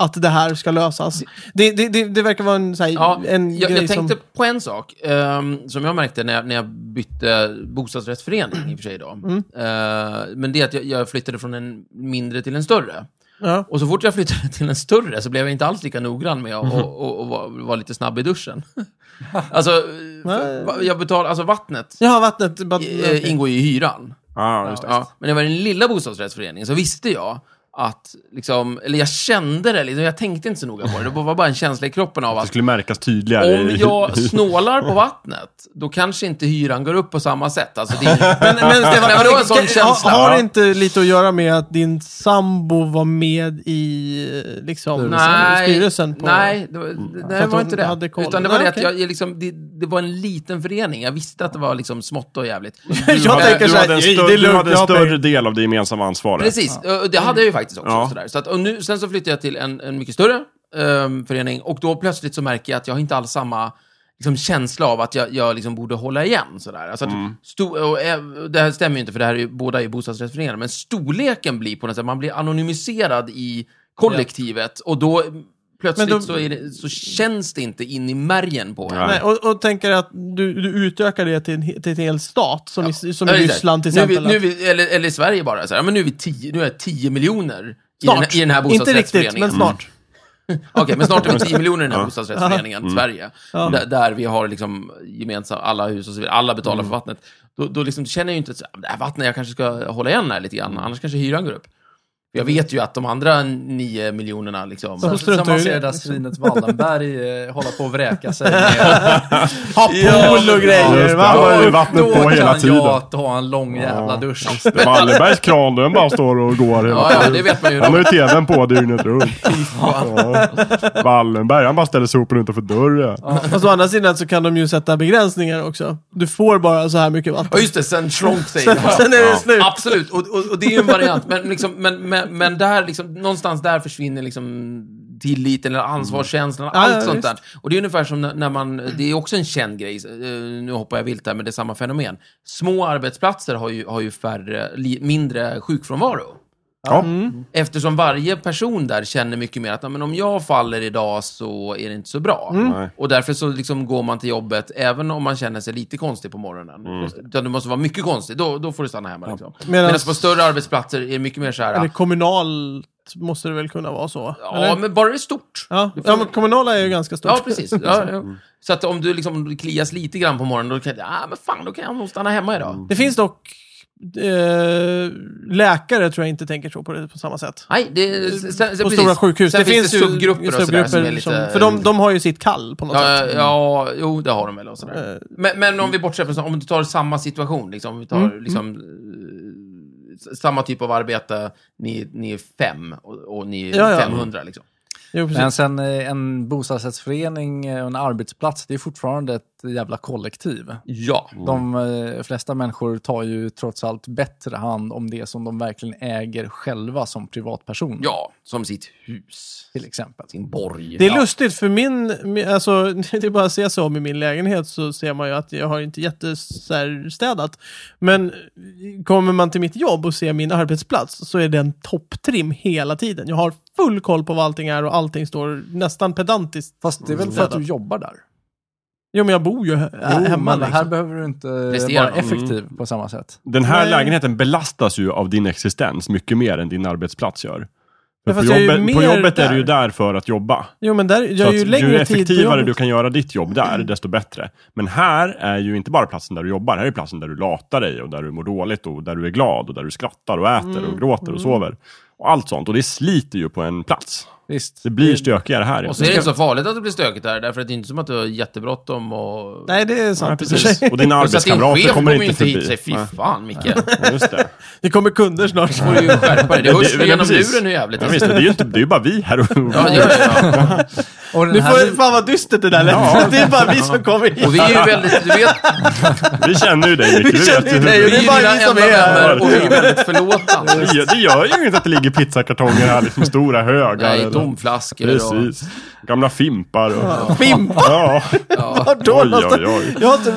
A: Att det här ska lösas. Det, det, det, det verkar vara en, så här,
B: Ja,
A: en
B: jag,
A: grej
B: jag tänkte
A: som...
B: på en sak ehm, som jag märkte när jag, när jag bytte bostadsrättsförening i och för sig då.
A: Mm.
B: Eh, men det är att jag, jag flyttade från en mindre till en större.
A: Ja.
B: Och så fort jag flyttade till en större så blev jag inte alls lika noggrann med att
A: Mm.
B: och, och, och vara var lite snabb i duschen. alltså, för, va- jag betal, alltså vattnet
A: Jaha, vattnet. Bara,
B: eh, ingår ju i hyran.
C: Ja, just det.
B: Ja, men när jag var i den lilla bostadsrättsföreningen så visste jag att, liksom, eller jag kände det, liksom, jag tänkte inte så noga på det. Det var bara en känsla i kroppen av
C: Det
B: att
C: skulle märkas tydligare.
B: om
C: i-
B: jag snålar på vattnet, då kanske inte hyran går upp på samma sätt. Alltså, det är...
A: Men, men Stefan,
B: Nej, men det var en sån
A: kan-
B: känsla.
A: har, har det
B: Ja.
A: inte lite att göra med att din sambo var med i eh, liksom,
B: Nej,
A: styrelsen? På, Mm.
B: nej, det var, nej, det
A: att
B: var
A: hon
B: inte det.
A: hade koll.
B: Utan det var
A: Nej,
B: det att
A: okej.
B: jag, jag liksom, det, det var en liten förening. Jag visste att det var liksom smått och jävligt.
A: Jag
B: Men-
C: Du
A: tänker
C: hade-
A: så
C: du
A: här,
C: hade en
A: "Ej,
C: större-
A: det är
C: du
A: lugnt,
C: hade en
A: jag har pengar."
C: större del av det gemensamma ansvaret.
B: Precis, och det hade jag ju faktiskt också.
C: Ja.
B: och Sådär. Så att, och nu, sen så flyttade jag till en, en mycket större ehm, förening och då plötsligt så märker jag att jag har inte alls samma liksom, känsla av att jag, jag liksom borde hålla igen. Sådär. Alltså att,
C: Mm.
B: sto- och, eh, det här stämmer ju inte, för det här är ju, båda är ju bostadsrättsföreningar, men storleken blir på något sätt, man blir anonymiserad i kollektivet och då eh, plötsligt
A: Men då-
B: så, är det, så känns det inte in i märgen på en.
A: Nej, och, och tänker att du, du utökar det till en, he- till en hel stat, som, i, som i
B: Ja, det är
A: Ryssland till
B: så här.
A: exempel.
B: Nu är vi, nu är vi, eller, eller i Sverige bara. Så här, ja, men nu är vi tio, nu är jag 10 miljoner I, den,
A: Snart.
B: I den här
A: Inte
B: bostadsrättsföreningen.
A: riktigt, men snart.
B: Okej, men snart är vi 10 miljoner i den här bostadsrättsföreningen Sverige.
A: Ja. Mm.
B: Där, där vi har liksom gemensamt alla hus och så vidare. Alla betalar
A: Mm.
B: för vattnet. Då, då liksom känner jag ju inte att det här vattnet, jag kanske ska hålla igen här lite grann. Annars kanske hyran går upp. Jag vet ju att de andra 9 miljonerna liksom...
A: Så-
D: Sen,
A: struntar
D: sen man
A: ju i
D: ser
A: det.
D: det där svinet Wallenberg eh, hålla på och vräka sig. Med,
A: Ha
B: Ja,
A: pool och
C: just
A: grejer,
C: det.
A: va?
C: har ju
D: Då-
C: vattnet
D: då
C: på
D: kan
C: hela tiden.
D: jag ta en lång jävla dusch.
C: Det var Wallenbergs kran, den bara står och går.
B: Ja, ja, det vet man ju.
C: Han har ju tvn på dygnet runt. Ja. Wallenberg, han bara ställer sopen utanför dörren.
B: Mm.
A: Fast å andra sidan så kan de ju sätta begränsningar också. Du får bara så här mycket
B: Ja,
A: vatten.
B: just det. Sen Trump säger det.
A: Sen är det slut.
B: Absolut, och, och, och det är ju en variant. Men, liksom, men, men, men där, liksom, någonstans där försvinner liksom tilliten eller ansvarskänslan,
A: Mm. Ja,
B: allt
A: ja,
B: sånt
A: visst.
B: där. Och det är ungefär som när, när man, det är också en känd grej, eh, nu hoppar jag vilt här, men det är samma fenomen. Små arbetsplatser har ju, har ju färre, li, mindre sjukfrånvaro.
C: Ja.
A: Mm.
B: Eftersom varje person där känner mycket mer att "Ja, men om jag faller idag så är det inte så bra.
A: Mm.
C: Nej.
B: Och därför så liksom går man till jobbet även om man känner sig lite konstig på morgonen. Utan du måste vara mycket konstig, då, då får du stanna hemma. Liksom.
A: Medan-
B: Medan på större arbetsplatser är det mycket mer så här...
A: Eller kommunalt måste det väl kunna vara så?
B: Ja,
A: eller?
B: men bara det är stort.
A: Ja. ja, men kommunala är ju ganska stort.
B: Ja, precis. Ja, ja. Så att om du liksom klias lite grann på morgonen, då kan jag, ah, men fan, då kan jag nog stanna hemma idag.
A: Det finns dock eh, läkare tror jag inte tänker så på det på samma sätt.
B: Nej, det är... Sen, sen,
A: På
B: precis.
A: stora sjukhus.
B: Sen
A: det
B: finns det
A: ju
B: subgrupper och sådär som är
A: subgrupper
B: lite...
A: som- För de, de har ju sitt kall på något
B: Ja,
A: sätt.
B: ja, jo, det har de väl. Och sådär.
A: Eh.
B: Men, men om vi bortser från så- om du tar samma situation, liksom, om vi
C: Mm,
B: tar liksom, eh, s- samma typ av arbete, ni, ni är fem och, och ni är
A: Ja, ja.
B: 500. Liksom.
A: Jo, precis.
D: Men sen eh, en bostadsrättsförening eh, och en arbetsplats, det är fortfarande ett jävla kollektiv.
B: Ja.
D: De eh, flesta människor tar ju trots allt bättre hand om det som de verkligen äger själva som privatpersoner.
B: ja, som sitt hus,
D: Till exempel.
B: sin borg.
A: Det är
B: ja.
A: lustigt för min, min- alltså det är bara att se sig om i min lägenhet så ser man ju att jag har inte jättesärstädat. Men kommer man till mitt jobb och ser min arbetsplats så är den topptrim hela tiden. Jag har full koll på vad allting är och allting står nästan pedantiskt.
D: Fast det är väl för att du jobbar där?
A: Jo men jag bor ju he- hemma
D: men
A: liksom.
D: Här behöver du inte
B: Prestera
D: vara
B: något.
D: effektiv på samma sätt.
C: Den här
A: Nej.
C: lägenheten belastas ju av din existens mycket mer än din arbetsplats gör. För
A: Ja,
C: på,
A: fast jag är ju
C: jobbet, på
A: mer
C: jobbet är du ju
A: där.
C: där för att jobba.
A: Jo men där, jag
C: Så
A: är ju
C: att ju
A: längre tid på
C: effektivare du
A: jobbet.
C: kan göra ditt jobb där, desto bättre. Men här är ju inte bara platsen där du jobbar, här är platsen där du latar dig och där du mår dåligt och där du är glad och där du skrattar och äter
B: Mm.
C: och gråter och sover. Och allt sånt. Och det sliter ju på en plats.
D: Visst.
C: Det blir stökigare här.
B: Och så är det inte så farligt att det blir stökigt där, därför att det är inte som att du har jättebråttom och...
A: Nej det är
C: Ja,
A: sant. i och för
C: precis.
A: sig.
C: Och dina
B: och så att din chef
C: arbetskamrater
B: kommer
C: kommer
B: ju
C: inte
B: inte hit och
C: förbi.
B: säger, fy fan Micke.
C: Ja, Just det.
A: Det kommer kunder snart.
B: Du får ju skärpa dig. Det
C: Ja,
B: hörs
C: det- ja,
B: genom
C: precis.
B: luren hur jävligt det
C: Ja,
B: är.
C: visst, det är ju inte, det är ju bara vi här och
B: Ja, ja, ja.
D: Och den
A: Nu
D: här
A: får, fan vad dystert det där lät.
C: Ja.
A: Det är bara vi som kommer hit.
B: Och vi är ju väldigt, du vet,
C: Vi känner ju dig Micke,
A: Vi
C: vi
A: känner
C: vet
A: ju
C: ju
A: dig
C: hur
A: och
B: vi
A: det
B: är
A: är
B: ju
A: bara
B: dina
A: vi som
B: enda
A: är här.
B: vänner och vi är väldigt förlåtande.
C: Det gör- Det gör ju inget att det ligger pizzakartonger här liksom, i stora högar.
B: Nej,
C: eller-
B: domflaskor och...
C: Precis. Gamla fimpar och...
A: Fimpa
C: Ja,
B: Ja.
A: Vart då
C: oj, oj,
A: någonstans?
C: oj.
A: Jag har inte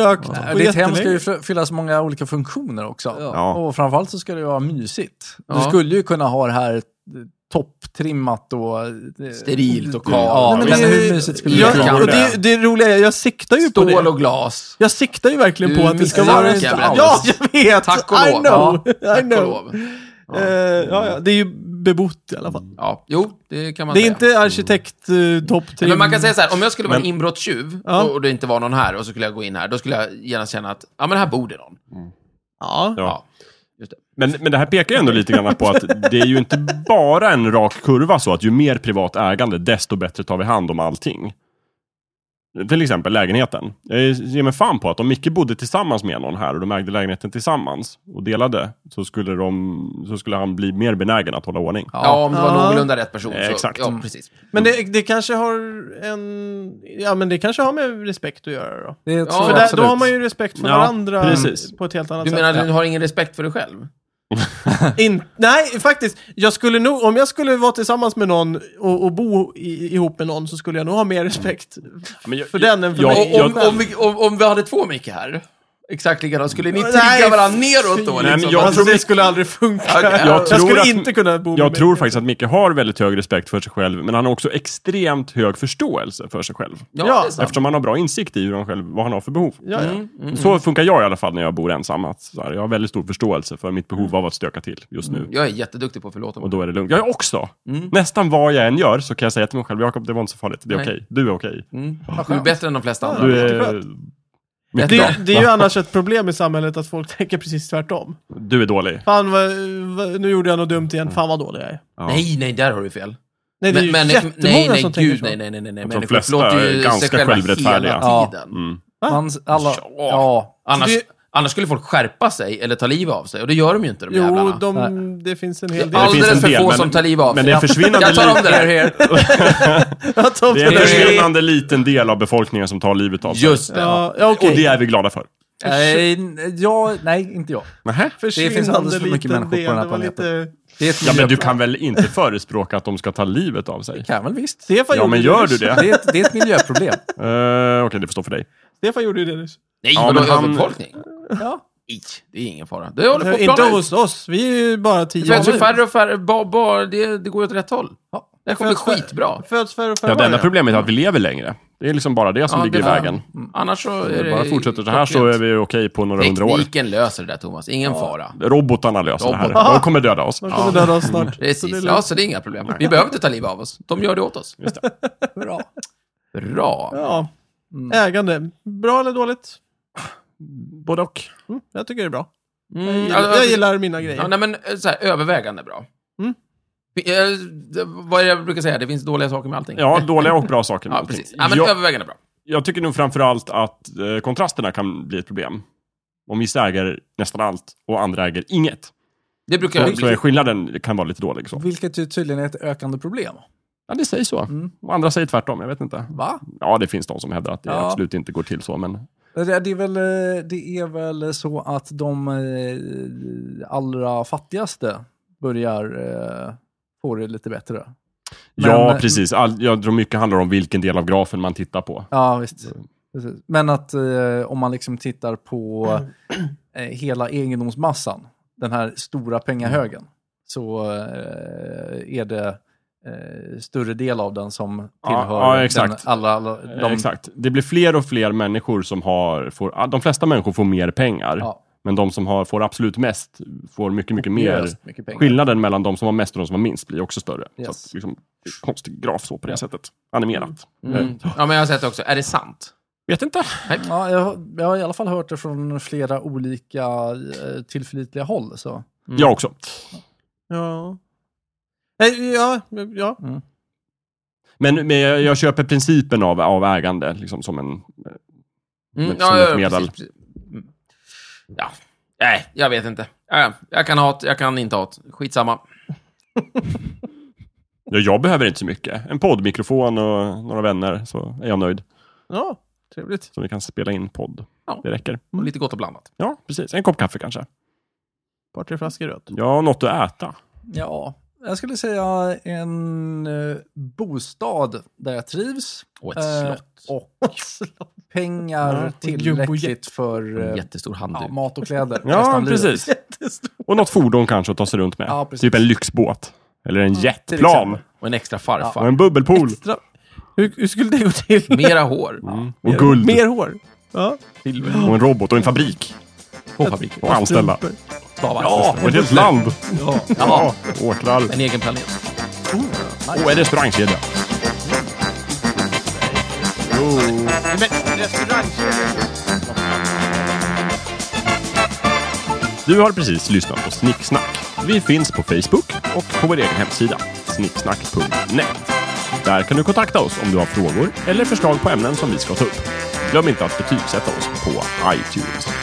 A: rökt på
D: Ditt hem ska ju
A: jättelänge.
D: fy- fyllas många olika funktioner också.
B: Ja.
D: Och framförallt så ska det ju vara mysigt. Du
B: Ja.
D: skulle ju kunna ha det här eh, topptrimmat och... eh,
B: Sterilt och
D: Ja,
B: kalt.
D: men,
A: men det är-
D: hur mysigt skulle
A: Ja,
D: det kunna
B: Jag-
D: vara?
A: och det, det roliga är, jag siktar ju på
B: Stål
A: det.
B: och glas.
A: Jag siktar ju verkligen
B: Du
A: på att det ska
B: missar
A: vara...
B: det, jävla
A: Ja,
B: alls.
A: jag vet!
B: Tack och
A: I
B: lov.
A: know! I
B: Tack och
A: know.
B: lov.
A: Eh, ja, ja. Det är ju bebott i alla fall.
B: Ja, jo, det kan man
A: Det är
B: säga.
A: inte arkitekt eh, topp
B: Men
A: trim.
B: man kan säga så här, om jag skulle vara en
C: Men-
B: inbrottstjuv
A: Ja.
B: och och det inte var någon här och så skulle jag gå in här, då skulle jag gärna känna att, ja men här bor det någon.
A: Ja.
C: Ja.
B: Ja.
C: Men, men det här pekar ju ändå lite grann på att det är ju inte bara en rak kurva så att ju mer privat ägande, desto bättre tar vi hand om allting. Till exempel lägenheten. Jag ger mig fan på att om Micke bodde tillsammans med någon här och de ägde lägenheten tillsammans och delade, så skulle, de, så skulle han bli mer benägen att hålla ordning.
B: Ja, om det var
A: Ja.
B: någorlunda rätt person. Så,
C: Eh, exakt.
B: Ja, precis.
A: Men det, det kanske har en... Ja, men det kanske har med respekt att göra då.
D: Det tror
B: Ja,
A: För
D: jag
A: där, då
D: absolut.
A: har man ju respekt för
C: Ja,
A: varandra
C: precis.
A: på ett helt annat
B: Du
A: sätt.
B: menar att du har ingen respekt för dig själv?
A: In, nej, faktiskt. Jag skulle nog, om jag skulle vara tillsammans med någon och, och bo i, ihop med någon så skulle jag nog ha mer respekt
C: Men jag,
A: för den än för
C: jag-
A: mig.
B: Och, om,
C: jag-
B: om, vi, om, om vi hade två Micke här, exakt likadant. Skulle ni
A: Nej,
B: trigga
A: fy-
B: varandra neråt då?
A: Nej,
C: men
B: liksom?
C: jag
A: Alltså
C: tror-
A: det skulle aldrig funka.
B: Okej,
A: jag,
B: jag
C: tror
A: skulle
C: att-
A: inte kunna bo
C: Jag
A: med
C: tror faktiskt att Micke har väldigt hög respekt för sig själv, men han har också extremt hög förståelse för sig själv.
B: Ja,
A: Ja,
B: det är sant.
C: Eftersom han har bra insikt i hur han själv, vad han har för behov.
A: Ja, ja.
B: Mm, mm,
C: Så funkar jag i alla fall när jag bor ensam. Att så här, jag har väldigt stor förståelse för mitt behov av att stöka till just nu.
B: mm. Jag är jätteduktig på att förlåta
C: Och
B: mig.
C: då är det lugnt. Jag är också!
B: Mm.
C: Nästan vad jag än gör så kan jag säga till mig själv, Jakob, det var inte så farligt. Det är
B: Nej.
C: okej. Du är okej.
B: Mm. Du är bättre än de flesta andra.
C: Du
A: det är
C: är...
A: skönt.
C: Mycket
A: Det,
C: bra.
A: är- det är ju annars ett problem i samhället att folk tänker precis tvärtom.
C: Du är dålig.
A: Fan, vad, vad, nu gjorde jag något dumt igen. Fan vad dålig jag är.
C: Ja.
B: Nej, nej, där har du fel.
A: Nej, det är ju jättemånga
B: nej, nej,
A: som tänker
B: gud,
A: så.
B: nej, nej, nej, nej, nej.
C: de
B: Människor
C: flesta
B: förlåter ju
C: är ganska
B: sig själva
C: självrättfärdiga.
B: hela tiden.
C: Mm.
D: Man, alla,
B: Ja.
D: ja.
B: Annars,
A: Det-
B: annars skulle folk skärpa sig eller ta livet av sig, och det gör de ju inte, de
A: Jo,
B: jävlarna.
A: de, det finns en hel
B: Det
A: del.
B: är
C: Det finns en
B: alldeles för
C: del,
B: få
C: men-
B: som tar livet av
C: men
B: sig.
C: det är en försvinnande
B: Jag tar om det här. här.
A: Att de-
C: Det är en försvinnande liten del av befolkningen som tar livet av sig.
B: Just det.
A: Ja, ja, okej.
C: Och det är vi glada för.
D: Nej, ja, nej, inte jag.
C: Nähä?
A: Försvinnande
D: finns alldeles för mycket
A: liten
D: människor på
A: del.
D: den här
A: Det var
D: planeten.
A: lite-
D: Det är ett
C: Ja, men du
D: miljöproblem.
C: kan väl inte förespråka att de ska ta livet av sig?
D: kan väl visst.
A: Stefan
C: Ja,
A: gjorde
C: men
A: det
C: gör
A: nyss.
C: du det?
D: Det är ett, det är ett miljöproblem.
C: Eh, Okej, det får stå för dig.
A: Stefan gjorde ju det nyss.
B: Nej,
C: Ja,
B: vadå
C: men han-
B: överbefolkning?
D: Ja.
B: Nej, det är ingen fara. Det håller på att
A: Eh, Inte
B: plana ut.
A: hos oss, vi är ju bara
B: Det
A: tio
B: föds ju
A: år nu.
B: färre och färre. Ba, ba, det, det går ju åt rätt håll.
D: Ja.
B: Det här kommer
A: Föds-
B: skitbra.
A: Föds färre och färre
C: Ja, det enda
A: varje.
C: problemet är att vi lever längre. Det är liksom bara det som
B: Ja,
C: ligger
B: det- Mm.
C: i vägen.
B: Annars så
C: Om
B: är
C: vi
B: det...
C: bara fortsätter så här så är vi okej på några hundra år.
B: Tekniken löser det där, Thomas. Ingen fara.
C: Robotarna löser det
B: Robotarna.
C: här. De kommer döda oss.
A: De kommer döda oss snart. Så
B: Precis.
A: det är
B: ja,
A: lugnt.
B: så det är inga problem. Vi behöver inte ta livet av oss. De gör det åt oss.
D: Bra.
B: Bra.
A: Mm. Ja. Ägande, bra eller dåligt?
C: Både och.
A: Mm, jag tycker det är bra.
B: Mm,
A: Jag,
B: alltså-
A: jag gillar mina
B: Ja,
A: grejer.
B: nej, men eh, så här, övervägande bra.
A: Mm.
B: Vi- eh, det- Vad är det jag brukar säga? Det finns dåliga saker med allting.
C: Ja, dåliga och bra saker. med
B: Ja,
C: allting.
B: precis. Ja, men
C: jag,
B: övervägande bra.
C: jag tycker nog framförallt att eh, kontrasterna kan bli ett problem. Om vissa äger nästan allt och andra äger inget,
B: Det brukar
C: så, så är
B: bli...
C: skillnaden kan vara lite dålig.
B: Mm.
C: Så.
D: Vilket ju tydligen är ett ökande problem.
C: Ja, det sägs så.
D: Mm.
C: Och andra säger tvärtom, jag vet inte.
D: Va?
C: Ja, det finns de som hävdar att det
D: Ja.
C: absolut inte går till så, men...
D: Det det är, väl, eh, det är väl så att de eh, allra fattigaste börjar eh, få det lite bättre. Men- eh,
C: ja, precis. All, jag tror mycket handlar om vilken del av grafen man tittar på.
D: Ja, visst. Precis. Men att eh, om man liksom tittar på eh, hela egendomsmassan, den här stora
C: Mm.
D: pengahögen, så eh, är det eh, större del av den som tillhör
C: ja, exakt.
D: Den alla, alla,
C: Eh,
D: de,
C: Exakt. Det blir fler och fler människor som har... Får, ah, de flesta människor får mer pengar,
D: Ja.
C: men de som har, får absolut mest får mycket, mycket mer.
D: Yes, mycket pengar.
C: Skillnaden mellan de som har mest och de som har minst blir också större.
D: Yes.
C: Så att, liksom, konstig graf så på det sättet. Animerat. Eh,
B: Mm. Ja, men jag har sett det också. Är det sant?
C: Vet inte.
D: Ja, jag, jag har i alla fall hört det från flera olika eh, tillförlitliga håll. Så.
C: Jag också.
A: Ja. Nej, ja, ja.
C: Men, men jag, jag köper principen av, av ägande liksom, som en...
B: Mm.
C: Men som ett medel.
B: precis, precis. Mm. Ja. Nej, jag vet inte. Ja, ja. jag kan ha ett, jag kan inte ha ett. Skitsamma.
C: Ja, jag behöver inte så mycket. En poddmikrofon och några vänner så är jag nöjd.
A: ja. Trevligt.
C: Så vi kan spela in podd.
B: Ja.
C: Det räcker. Mm.
B: Och lite gott och blandat.
C: Ja, precis. En kopp kaffe kanske.
A: Ett par, tre flaskor rött.
C: Ja, något att äta.
D: Ja, jag skulle säga en eh, bostad där jag trivs.
B: Och ett
D: eh,
B: slott.
D: Och pengar
A: Ja, och jumbojet.
D: tillräckligt för
B: En
D: eh,
B: jättestor handduk.
D: ja, mat och kläder. resten
C: Ja,
D: av livet.
C: precis. Och något fordon kanske att ta sig runt med.
D: Ja, precis.
C: typ en lyxbåt. Eller en jetplan.
D: exempel.
B: Och en extra
C: Och
B: farfar.
C: en bubbelpool.
A: Extra. Hur, hur skulle det gå till?
B: Mera hår.
C: Och guld.
A: Mer hår. Ja.
C: Och en robot och en fabrik.
B: På fabriken.
C: Och anställda.
A: Strumpor.
B: Stavar.
C: Ja, och ett helt land.
B: Jaha.
C: Ja, åkrar.
B: En egen planet.
C: Och en restaurangkedja. Du har precis lyssnat på Snicksnack. Vi finns på Facebook och på vår egen hemsida, snicksnack.net. Där kan du kontakta oss om du har frågor eller förslag på ämnen som vi ska ta upp. Glöm inte att betygsätta oss på iTunes.